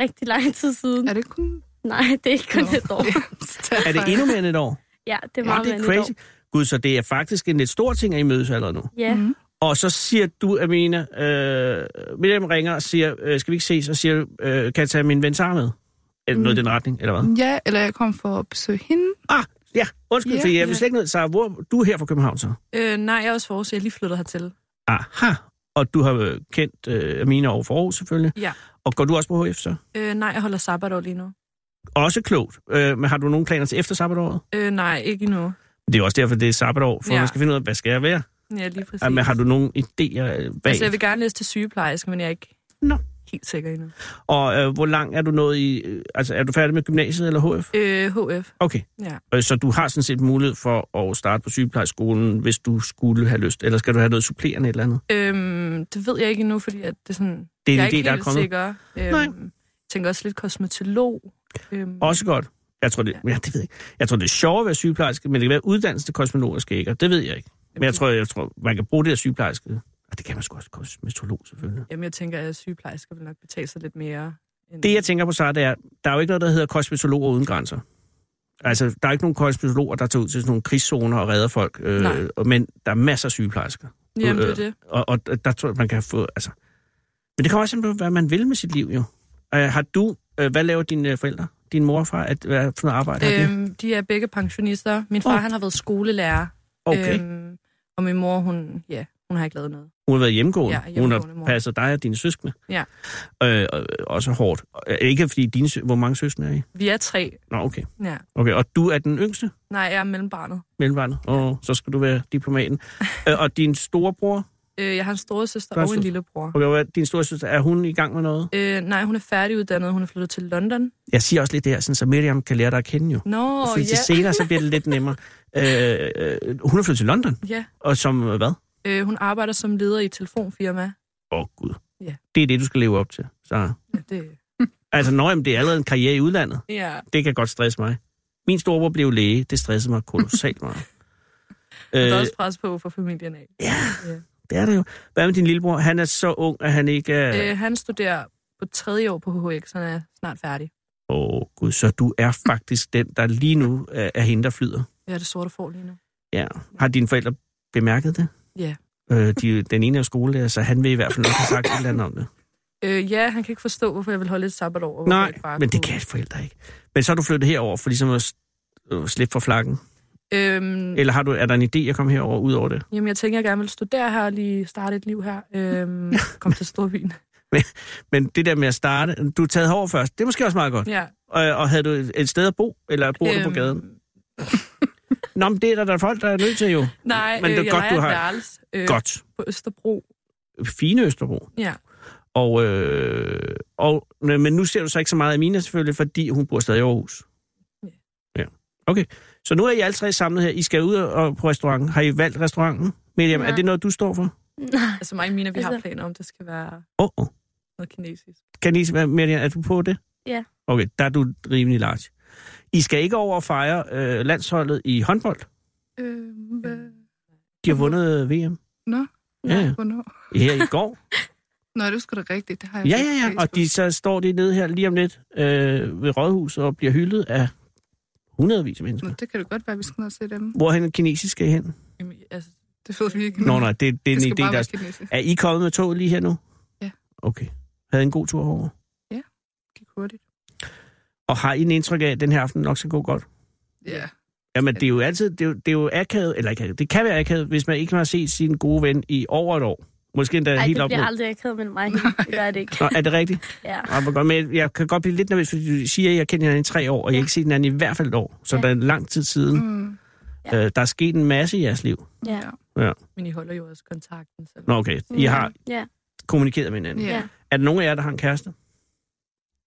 [SPEAKER 14] rigtig lang tid siden. Er det kun... Nej, det er ikke kun et år.
[SPEAKER 5] Er det endnu mere end et år?
[SPEAKER 14] Ja, det er
[SPEAKER 5] Ja,
[SPEAKER 14] meget
[SPEAKER 5] det
[SPEAKER 14] mere
[SPEAKER 5] er
[SPEAKER 14] end et
[SPEAKER 5] crazy.
[SPEAKER 14] år.
[SPEAKER 5] Gud, så det er faktisk en lidt stor ting, at I mødes allerede nu.
[SPEAKER 14] Ja.
[SPEAKER 12] Mhm.
[SPEAKER 14] Mm-hmm.
[SPEAKER 5] Og så siger du, Amina, øh, Miriam ringer og siger, øh, skal vi ikke ses? Og siger, du, øh, kan jeg tage min ven Sara med? Eller noget i
[SPEAKER 13] Mm.
[SPEAKER 5] den retning, eller hvad?
[SPEAKER 12] Ja, eller jeg kom for at besøge hende.
[SPEAKER 5] Ah, ja. Undskyld,
[SPEAKER 12] Ja,
[SPEAKER 5] yeah, for jeg
[SPEAKER 12] ja.
[SPEAKER 5] vil slet ikke ned. Sara, hvor, du er her fra København så?
[SPEAKER 13] Øh, nej, jeg er også for Aarhus. Jeg er lige flyttet hertil.
[SPEAKER 5] Aha. Og du har øh, kendt øh, Amina over for Aarhus, selvfølgelig.
[SPEAKER 13] Ja.
[SPEAKER 5] Og går du også på HF så?
[SPEAKER 13] Øh, nej, jeg holder sabbatår lige nu.
[SPEAKER 5] Også klogt. Øh, men har du nogen planer til efter sabbatåret?
[SPEAKER 13] Øh, nej, ikke endnu.
[SPEAKER 5] Det er også derfor, det er sabbatår, for ja.
[SPEAKER 13] Ja.
[SPEAKER 5] man skal finde ud af, hvad skal jeg være?
[SPEAKER 13] Ja, lige præcis.
[SPEAKER 5] Ja, Ah, men har du nogen idéer øh, bag?
[SPEAKER 13] altså, jeg vil gerne læse til sygeplejerske, men jeg er ikke
[SPEAKER 5] Nå.
[SPEAKER 13] helt sikker endnu.
[SPEAKER 5] Og øh, hvor langt er du nået i... Øh, altså, er du færdig med gymnasiet eller HF?
[SPEAKER 13] Øh, HF.
[SPEAKER 5] Okay.
[SPEAKER 13] Ja.
[SPEAKER 5] Øh, Så du har sådan set mulighed for at starte på sygeplejeskolen, hvis du skulle have lyst. Eller skal du have noget supplerende et eller andet?
[SPEAKER 13] Øhm, det ved jeg ikke endnu, fordi at det er sådan...
[SPEAKER 5] Det er en
[SPEAKER 13] jeg
[SPEAKER 5] idé,
[SPEAKER 13] ikke
[SPEAKER 5] der er
[SPEAKER 13] helt
[SPEAKER 5] kommet.
[SPEAKER 13] Sikker. Øhm,
[SPEAKER 5] Nej.
[SPEAKER 13] Jeg tænker også lidt kosmetolog. Øhm,
[SPEAKER 5] Også godt. Jeg tror, det, ja. det ved jeg ikke. Jeg tror, det er sjovt at være sygeplejerske, men det kan være uddannelse til kosmologer skal ikke, og det ved jeg ikke. Men jeg tror, jeg tror, man kan bruge det der sygeplejerske. Og det kan man sgu også kosmetolog, selvfølgelig.
[SPEAKER 13] Jamen, jeg tænker, at sygeplejersker vil nok betale sig lidt mere.
[SPEAKER 5] Det, jeg tænker på, så det er, der er jo ikke noget, der hedder kosmetologer uden grænser. Altså, der er ikke nogen kosmetologer, der tager ud til sådan nogle krigszoner og redder folk. Øh,
[SPEAKER 13] Nej.
[SPEAKER 5] og- men der er masser af sygeplejersker.
[SPEAKER 13] Jamen, det er
[SPEAKER 5] Øh,
[SPEAKER 13] det.
[SPEAKER 5] Og, og der tror jeg, man kan få... Altså. Men det kan også simpelthen hvad man vil med sit liv, jo. Øh, har du... Øh, hvad laver dine øh, forældre? Din mor og far? At, hvad for noget arbejde øhm, har de?
[SPEAKER 13] Øhm, de er begge pensionister. Min far,
[SPEAKER 5] Åh.
[SPEAKER 13] oh. han har været skolelærer.
[SPEAKER 5] Okay.
[SPEAKER 13] Øhm, og min mor, hun, ja, hun har ikke lavet noget.
[SPEAKER 5] Hun har været hjemmegående.
[SPEAKER 13] Ja,
[SPEAKER 5] Ja, Hun
[SPEAKER 13] hjemmegående
[SPEAKER 5] har
[SPEAKER 13] mor.
[SPEAKER 5] passet dig og dine søskende.
[SPEAKER 13] Ja,
[SPEAKER 5] Øh, og, også hårdt. Øh, Ikke fordi dine... sø- Hvor mange søskende er I?
[SPEAKER 13] vi er tre.
[SPEAKER 5] Nå, okay.
[SPEAKER 13] Ja.
[SPEAKER 5] Okay, og du er den yngste?
[SPEAKER 13] Nej, jeg er mellembarnet.
[SPEAKER 5] mellemvandet, og så skal du være diplomaten. Øh, og din storebror?
[SPEAKER 13] Øh, jeg har en store søster
[SPEAKER 5] Der er
[SPEAKER 13] og en
[SPEAKER 5] søs-
[SPEAKER 13] lillebror.
[SPEAKER 5] Okay, hvad, din storesøster, er hun i gang med noget?
[SPEAKER 13] Øh, nej, hun er færdiguddannet. Hun er flyttet til London.
[SPEAKER 5] Jeg siger også lidt det her, sådan, så Miriam kan lære dig at kende jo.
[SPEAKER 13] Nå,
[SPEAKER 5] Fordi til
[SPEAKER 13] ja.
[SPEAKER 5] senere, så bliver det lidt nemmere. Øh, øh, hun er flyttet til London,
[SPEAKER 13] Ja,
[SPEAKER 5] og som øh, hvad?
[SPEAKER 13] øh, hun arbejder som leder i et telefonfirma.
[SPEAKER 5] Åh, oh, Gud.
[SPEAKER 13] Ja.
[SPEAKER 5] Det er det, du skal leve op til. Så.
[SPEAKER 13] Ja, det...
[SPEAKER 5] Altså, når jamen, det er allerede en karriere i udlandet.
[SPEAKER 13] Ja.
[SPEAKER 5] Det kan godt stresse mig. Min storebror blev læge. Det stressede mig kolossalt meget.
[SPEAKER 13] Øh... Der er
[SPEAKER 5] Øh,
[SPEAKER 13] også pres på for familien af.
[SPEAKER 5] det er det jo. Hvad med din lillebror? Han er så ung, at han ikke er...
[SPEAKER 13] Øh, han studerer på tredje år på HHX, han er snart færdig.
[SPEAKER 5] Åh, oh, gud, så du er faktisk den, der lige nu er, er hende, der flyder.
[SPEAKER 13] Ja, det sorte får lige nu.
[SPEAKER 5] Ja. Har dine forældre bemærket det?
[SPEAKER 13] Ja.
[SPEAKER 5] Øh, de, den ene er skolelærer, så han vil i hvert fald nok have sagt et eller andet om det.
[SPEAKER 13] Øh, ja, han kan ikke forstå, hvorfor jeg vil holde et sabbatår. og hvorfor jeg
[SPEAKER 5] Nej,
[SPEAKER 13] ikke bare
[SPEAKER 5] men det
[SPEAKER 13] kunne-
[SPEAKER 5] kan forældre ikke. Men så er du flyttet herover for ligesom at s- øh, slippe for flakken.
[SPEAKER 13] Øhm,
[SPEAKER 5] Eller har du, er der en idé at komme herover ud over det?
[SPEAKER 13] Jamen, jeg tænker, jeg gerne vil studere her og lige starte et liv her. Øhm, kom til Storbyen.
[SPEAKER 5] Men det der med at starte, du er taget herover først, det er måske også meget godt.
[SPEAKER 13] Ja.
[SPEAKER 5] Og, og havde du et et sted at bo, eller bor øhm. du på
[SPEAKER 13] Øhm.
[SPEAKER 5] gaden? Nå, men det er der, der er folk, der er nødt til jo.
[SPEAKER 13] Nej,
[SPEAKER 5] men det er
[SPEAKER 13] øh, jeg
[SPEAKER 5] godt,
[SPEAKER 13] leger
[SPEAKER 5] du
[SPEAKER 13] et
[SPEAKER 5] har-
[SPEAKER 13] værelse, øh,
[SPEAKER 5] Godt.
[SPEAKER 13] på Østerbro.
[SPEAKER 5] Fine Østerbro.
[SPEAKER 13] Ja.
[SPEAKER 5] Og, øh, og, nø- men nu ser du så ikke så meget af Mina selvfølgelig, fordi hun bor stadig i Aarhus. Ja. Okay, så nu er I alle tre samlet her. I skal ud og på restauranten. Har I valgt restauranten? Miriam, er
[SPEAKER 13] Nej.
[SPEAKER 5] det noget, du står for?
[SPEAKER 13] Altså mig og Mina, vi har
[SPEAKER 14] Altså-
[SPEAKER 13] planer om, det skal være
[SPEAKER 5] Åh, oh, oh.
[SPEAKER 13] noget kinesisk.
[SPEAKER 5] Kan I, hvad, Miriam, er du på det?
[SPEAKER 14] Ja.
[SPEAKER 5] Okay, der er du rimelig large. I skal ikke over og fejre øh, landsholdet i håndbold.
[SPEAKER 12] Øh, hvad?
[SPEAKER 5] De har vundet VM
[SPEAKER 12] Nå?
[SPEAKER 5] Ja, ja.
[SPEAKER 12] Hvornår?
[SPEAKER 5] her i går.
[SPEAKER 12] Nå, det er sgu da rigtigt. Det har jeg
[SPEAKER 5] Ja,
[SPEAKER 12] set på
[SPEAKER 5] ja, ja.
[SPEAKER 12] Facebook.
[SPEAKER 5] Og de, så står de nede her lige om lidt øh, ved Rådhuset og bliver hyldet af hundredvis af mennesker.
[SPEAKER 12] Nå, det kan det godt være, vi skal ned og se dem.
[SPEAKER 5] Hvorhen er kinesiske hen?
[SPEAKER 13] Jamen, altså,
[SPEAKER 12] det ved vi ikke.
[SPEAKER 5] Nå nej, det, det er
[SPEAKER 12] Det
[SPEAKER 5] en
[SPEAKER 12] skal
[SPEAKER 5] idé,
[SPEAKER 12] bare
[SPEAKER 5] der...
[SPEAKER 12] være
[SPEAKER 5] Er,
[SPEAKER 12] kinesisk.
[SPEAKER 5] er I kommet med tog lige her nu?
[SPEAKER 12] Ja.
[SPEAKER 5] Okay. Havde I en god tur over?
[SPEAKER 12] Gik hurtigt.
[SPEAKER 5] Og har I en indtryk af, at den her aften nok skal gå godt?
[SPEAKER 12] Ja.
[SPEAKER 5] Jamen, det er jo altid... Det er jo, det er jo akavet, eller ikke akavet, Det kan være akavet, hvis man ikke har set sin gode ven i over et år. Måske endda
[SPEAKER 14] Ej,
[SPEAKER 5] Øh, helt
[SPEAKER 14] det
[SPEAKER 5] op mod...
[SPEAKER 14] bliver aldrig akavet med mig. Det gør det ikke.
[SPEAKER 5] Nå, er det rigtigt?
[SPEAKER 14] Ja.
[SPEAKER 5] Nå, hvor godt, men jeg kan godt blive lidt nervøs, fordi du siger, at jeg kender hinanden i tre år, og jeg har ikke set hinanden i hvert fald et år. Så ja. der er lang tid siden.
[SPEAKER 12] Mm.
[SPEAKER 5] Ja. Øh, der er sket en masse i jeres liv.
[SPEAKER 14] Ja.
[SPEAKER 5] Ja.
[SPEAKER 13] Men I holder jo også kontakten. Så...
[SPEAKER 5] Nå, okay. I har
[SPEAKER 14] Ja.
[SPEAKER 5] kommunikeret med hinanden.
[SPEAKER 12] Ja.
[SPEAKER 5] Er der nogen af jer, der har en kæreste?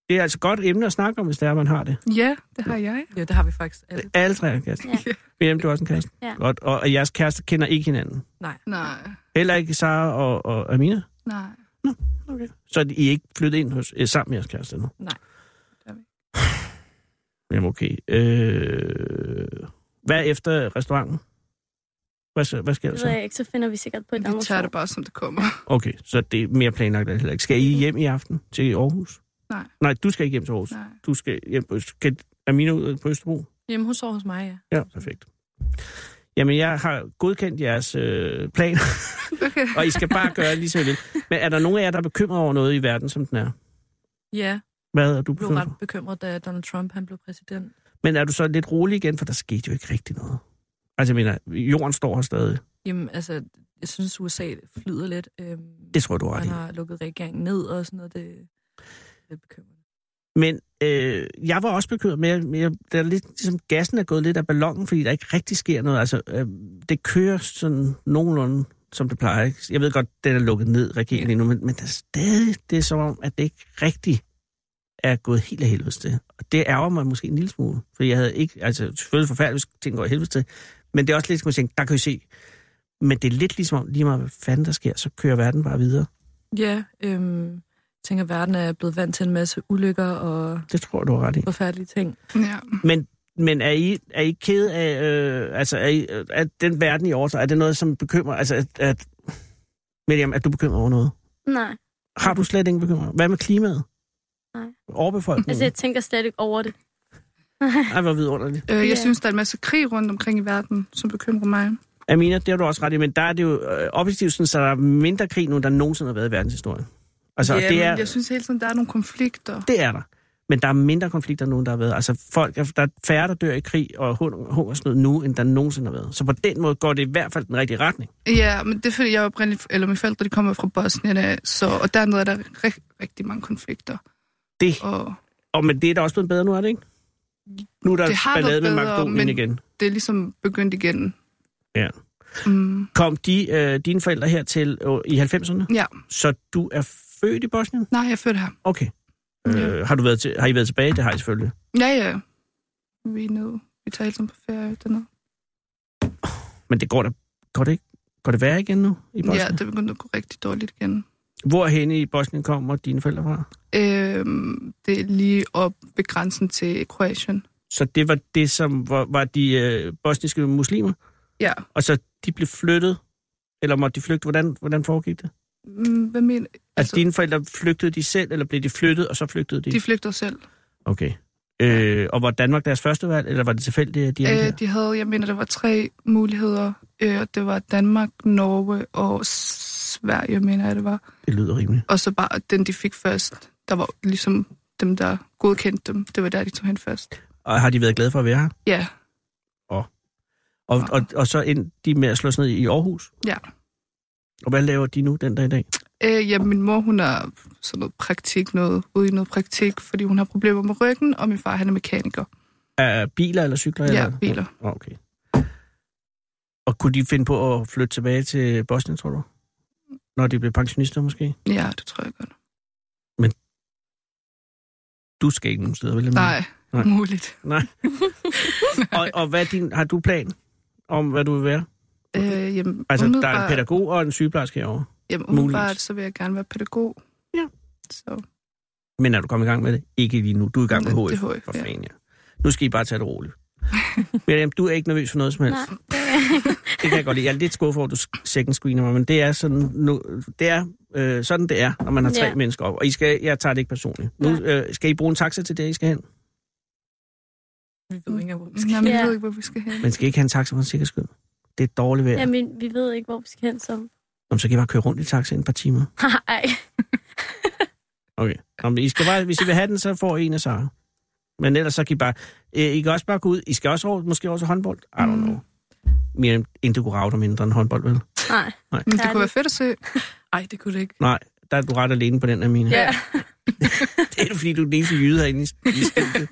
[SPEAKER 5] Det er altså et godt emne at snakke om, hvis det er, man har det.
[SPEAKER 12] Ja, det har jeg.
[SPEAKER 13] Ja, det har vi faktisk alle.
[SPEAKER 5] Alle tre har en kæreste.
[SPEAKER 14] Ja.
[SPEAKER 5] Miriam, du har også en kæreste.
[SPEAKER 14] Ja.
[SPEAKER 5] Godt. Og, og jeres kæreste kender ikke hinanden.
[SPEAKER 13] Nej.
[SPEAKER 12] Nej.
[SPEAKER 5] Heller ikke Sara og, og Amina.
[SPEAKER 12] Nej.
[SPEAKER 5] Okay. Så I er ikke flyttet ind hos, øh, sammen med jeres kæreste nu?
[SPEAKER 13] Nej.
[SPEAKER 5] Jamen okay. Øh, hvad er efter restauranten? Hvad, så- hvad sker der
[SPEAKER 14] Det ved
[SPEAKER 5] så?
[SPEAKER 14] jeg ikke, så finder vi sikkert på et andet
[SPEAKER 12] Vi tager det bare, som det kommer.
[SPEAKER 5] Okay, så det er mere planlagt end heller ikke. Skal I
[SPEAKER 14] Mm.
[SPEAKER 5] hjem i aften til Aarhus?
[SPEAKER 12] Nej.
[SPEAKER 5] Nej, du skal ikke hjem til Aarhus.
[SPEAKER 12] Nej.
[SPEAKER 5] Du skal hjem på Øst... Skal Amina ud på Østerbro?
[SPEAKER 13] Jamen, hun sover hos mig, ja.
[SPEAKER 5] Ja, perfekt. Jamen, jeg har godkendt jeres øh, plan,
[SPEAKER 12] Okay.
[SPEAKER 5] og I skal bare gøre lige som I vil. Men er der nogen af jer, der er bekymret over noget i verden, som den er?
[SPEAKER 13] Ja,
[SPEAKER 5] Hvad er du
[SPEAKER 13] jeg blev
[SPEAKER 5] bekymret
[SPEAKER 13] ret
[SPEAKER 5] for?
[SPEAKER 13] bekymret, da Donald Trump han blev præsident.
[SPEAKER 5] Men er du så lidt rolig igen, for der skete jo ikke rigtig noget? Altså, jeg mener, jorden står her stadig.
[SPEAKER 13] Jamen, altså, jeg synes, USA flyder lidt. Øhm,
[SPEAKER 5] Det tror jeg, du har ret
[SPEAKER 13] Han
[SPEAKER 5] i.
[SPEAKER 13] har lukket regeringen ned og sådan noget. Det,
[SPEAKER 5] Men øh, jeg var også bekymret, men jeg, men jeg, der er lidt, ligesom, gassen er gået lidt af ballonen, fordi der ikke rigtig sker noget. Altså, øh, det kører sådan nogenlunde, som det plejer. Ikke? Jeg ved godt, den er lukket ned, regeringen ja. endnu, men, men der er stadig, det er som om, at det ikke rigtig er gået helt af helvedes til. Og det ærger mig måske en lille smule, for jeg havde ikke, altså selvfølgelig forfærdeligt, hvis ting går af helvedes til, men det er også lidt, som jeg tænkte, der kan I se. Men det er lidt ligesom om, lige meget hvad fanden der sker, så kører verden bare videre.
[SPEAKER 13] ja, øhm, jeg tænker, verden er blevet vant til en masse ulykker og
[SPEAKER 5] Det tror jeg, du har ret i.
[SPEAKER 13] forfærdelige ting.
[SPEAKER 12] Ja.
[SPEAKER 5] Men, men er, I, er I ked af, øh, altså er, I, øh, er den verden i år, er det noget, som bekymrer, altså at, at Miriam, er du bekymret over noget?
[SPEAKER 14] Nej,
[SPEAKER 5] Har du slet ingen bekymring? Hvad med klimaet?
[SPEAKER 14] nej.
[SPEAKER 5] Overbefolkningen?
[SPEAKER 14] Altså,
[SPEAKER 12] Mhm.
[SPEAKER 14] jeg tænker slet ikke over det.
[SPEAKER 5] Ej, hvor vidunderligt.
[SPEAKER 12] Øh, jeg
[SPEAKER 14] Ja.
[SPEAKER 12] synes, der er en masse krig rundt omkring i verden, som bekymrer mig.
[SPEAKER 5] Amina, det har du også ret i, men der er det jo øh, objektivt sådan, så der er mindre krig nu, end der nogensinde har været i verdenshistorien. Altså,
[SPEAKER 12] ja,
[SPEAKER 5] det
[SPEAKER 12] men
[SPEAKER 5] er,
[SPEAKER 12] Jeg synes hele tiden, der er nogle konflikter.
[SPEAKER 5] Det er der. Men der er mindre konflikter nu, end der har været. Altså, folk er, der er færre, der dør i krig og hun- hungersnød nu, end der nogensinde har været. Så på den måde går det i hvert fald den rigtige retning.
[SPEAKER 12] Ja, men det er fordi, jeg er oprindeligt, eller mine forældre, de kommer fra Bosnien, af, så, og dernede er der rigtig, rigtig mange konflikter.
[SPEAKER 5] Det.
[SPEAKER 12] Og
[SPEAKER 5] Og men det er da også blevet bedre nu, er det ikke? Nu er der
[SPEAKER 12] det har
[SPEAKER 5] ballade
[SPEAKER 12] været
[SPEAKER 5] med
[SPEAKER 12] bedre,
[SPEAKER 5] Makedonien
[SPEAKER 12] men
[SPEAKER 5] igen.
[SPEAKER 12] det er ligesom begyndt igen.
[SPEAKER 5] Ja.
[SPEAKER 12] Mm,
[SPEAKER 5] Kom de, øh, dine forældre her til øh, i 90'erne?
[SPEAKER 12] ja,
[SPEAKER 5] Så du er født i Bosnien?
[SPEAKER 12] nej, jeg er født her.
[SPEAKER 5] Okay. Øh, har, du været til, har I været tilbage? Det har I selvfølgelig.
[SPEAKER 12] Ja, ja. Vi er nede. Vi tager hele tiden på ferie dernede.
[SPEAKER 5] Men det går da går det ikke? Går det værre igen nu i Bosnien?
[SPEAKER 12] Ja, det er begyndt at gå rigtig dårligt igen.
[SPEAKER 5] Hvorhenne i Bosnien kommer dine forældre fra?
[SPEAKER 12] Øhm, det er lige op ved grænsen til Kroatien.
[SPEAKER 5] Så det var det, som var, var de øh, bosniske muslimer?
[SPEAKER 12] Ja.
[SPEAKER 5] Og så de blev flyttet? Eller måtte de flygte? Hvordan, hvordan foregik det?
[SPEAKER 12] Mm, Hvad mener
[SPEAKER 5] Altså, dine forældre flygtede de selv, eller blev de flyttet, og så flygtede de?
[SPEAKER 12] De flygter selv.
[SPEAKER 5] Okay. Øh, og var Danmark deres første valg, eller var det tilfældigt, at de endte her?
[SPEAKER 12] Øh, de havde, jeg mener, der var tre muligheder. Øh, og det var Danmark, Norge og Sverige, mener jeg, det var.
[SPEAKER 5] Det lyder rimeligt.
[SPEAKER 12] Og så bare den, de fik først. Der var ligesom dem, der godkendte dem. Det var der, de tog hen først.
[SPEAKER 5] Og har de været glade for at være her?
[SPEAKER 12] Ja,
[SPEAKER 5] Og, og, og så endte de med at slå sig ned i Aarhus?
[SPEAKER 12] ja.
[SPEAKER 5] Og hvad laver de nu den dag i dag?
[SPEAKER 12] Øh, ja, min mor, hun har sådan noget praktik, noget, ude i noget praktik, fordi hun har problemer med ryggen, og min far, han er mekaniker.
[SPEAKER 5] Er biler eller cykler?
[SPEAKER 12] Ja,
[SPEAKER 5] eller?
[SPEAKER 12] biler.
[SPEAKER 5] Nå, Okay. Og kunne de finde på at flytte tilbage til Bosnien, tror du? Når de blev pensionister måske?
[SPEAKER 12] Ja, det tror jeg godt.
[SPEAKER 5] Du skal ikke nogen steder, vel? Emil?
[SPEAKER 12] Nej,
[SPEAKER 5] Nej.
[SPEAKER 12] Nej. muligt.
[SPEAKER 5] Nej. og, og hvad er din, har du plan om, hvad du vil være?
[SPEAKER 12] Øh, jamen,
[SPEAKER 5] Altså, der er en
[SPEAKER 12] umiddelbart-
[SPEAKER 5] pædagog og en sygeplejerske herovre.
[SPEAKER 12] Jamen,
[SPEAKER 5] muligvis.
[SPEAKER 12] umiddelbart, så vil jeg gerne være pædagog.
[SPEAKER 5] Ja.
[SPEAKER 12] Så,
[SPEAKER 5] Men er du kommet i gang med det? Ikke lige nu. Du er i gang med
[SPEAKER 12] Det-
[SPEAKER 5] HF.
[SPEAKER 12] det er
[SPEAKER 5] HF
[SPEAKER 12] HF,
[SPEAKER 5] for
[SPEAKER 12] ja.
[SPEAKER 5] fanden, ja. Nu skal I bare tage det roligt. Miriam, du er ikke nervøs for noget som helst.
[SPEAKER 14] Nej.
[SPEAKER 5] Det kan jeg godt lide. Jeg er lidt skuffet over, at du sk- second screener mig, men det er sådan, nu, det er, øh, sådan det er, når man har tre
[SPEAKER 14] Ja.
[SPEAKER 5] mennesker op. Og I skal, jeg tager det ikke personligt. Nu øh, skal I bruge en taxa til det, I skal hen.
[SPEAKER 13] Vi ved ikke engang, hvor vi skal.
[SPEAKER 12] nej, men jeg
[SPEAKER 14] Ja.
[SPEAKER 12] ved ikke, hvor vi skal hen.
[SPEAKER 5] Man skal ikke have en taxa for en sikker skyld. Det er dårligt vejr. Jamen.
[SPEAKER 14] Jamen, vi ved ikke, hvor vi skal hen, så...
[SPEAKER 5] Så kan I bare køre rundt i taxaen et par timer.
[SPEAKER 14] Nej,
[SPEAKER 5] Okay. Nå, men I skal bare, hvis I vil have den, så får I en af Sara. Men ellers så kan I bare... Øh, I kan også bare gå ud. I skal også over, måske også håndbold. I
[SPEAKER 13] Mm.
[SPEAKER 5] don't know. Mere end du kunne rave dig mindre end håndbold, vel?
[SPEAKER 14] nej.
[SPEAKER 5] Nej.
[SPEAKER 12] Men det kunne være fedt at se.
[SPEAKER 13] Nej, det kunne det ikke.
[SPEAKER 5] Nej, der er du ret alene på den, Amina.
[SPEAKER 14] Ja.
[SPEAKER 5] Det er du, fordi du er den eneste jyde herinde i i studiet.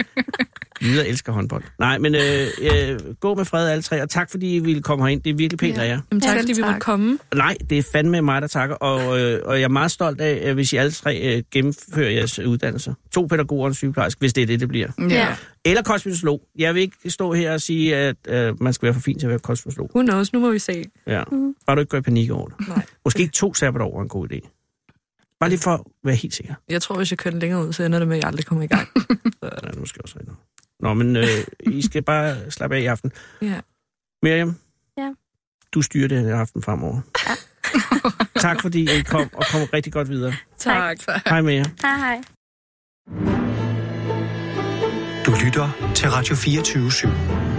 [SPEAKER 5] Jyder elsker håndbold. Nej, men øh, øh, gå med fred alle tre, og tak fordi I ville komme herind. Det er virkelig pænt af jer.
[SPEAKER 13] Jamen, tak,
[SPEAKER 12] Selv
[SPEAKER 13] fordi vi måtte
[SPEAKER 12] tak.
[SPEAKER 13] komme.
[SPEAKER 5] Nej, det er fandme mig, der takker, og, øh, og jeg er meget stolt af, øh, hvis I alle tre øh, gennemfører jeres uddannelser. To pædagoger og en sygeplejerske, hvis det er det, det bliver.
[SPEAKER 12] Ja.
[SPEAKER 5] Eller kosmetolog. Jeg vil ikke stå her og sige, at øh, man skal være for fin til at være kosmetolog.
[SPEAKER 13] Who knows, nu må vi se.
[SPEAKER 5] Ja. Bare du ikke går i panik over det.
[SPEAKER 13] Nej.
[SPEAKER 5] Måske ikke to sabbatår er en god idé. Bare lige for at være helt sikker.
[SPEAKER 13] Jeg tror, hvis jeg kører den længere ud, så ender det med, at jeg aldrig kommer i gang.
[SPEAKER 5] Ja, det er måske også rigtigt. Nå, men øh, I skal bare slappe af i aften.
[SPEAKER 13] Ja.
[SPEAKER 5] Miriam,
[SPEAKER 14] Ja.
[SPEAKER 5] du styrer det her aften fremover. tak fordi I kom, og kom rigtig godt videre.
[SPEAKER 14] Tak. tak.
[SPEAKER 5] Hej med jer.
[SPEAKER 14] Hej, hej.
[SPEAKER 1] Du lytter til Radio 24 /7.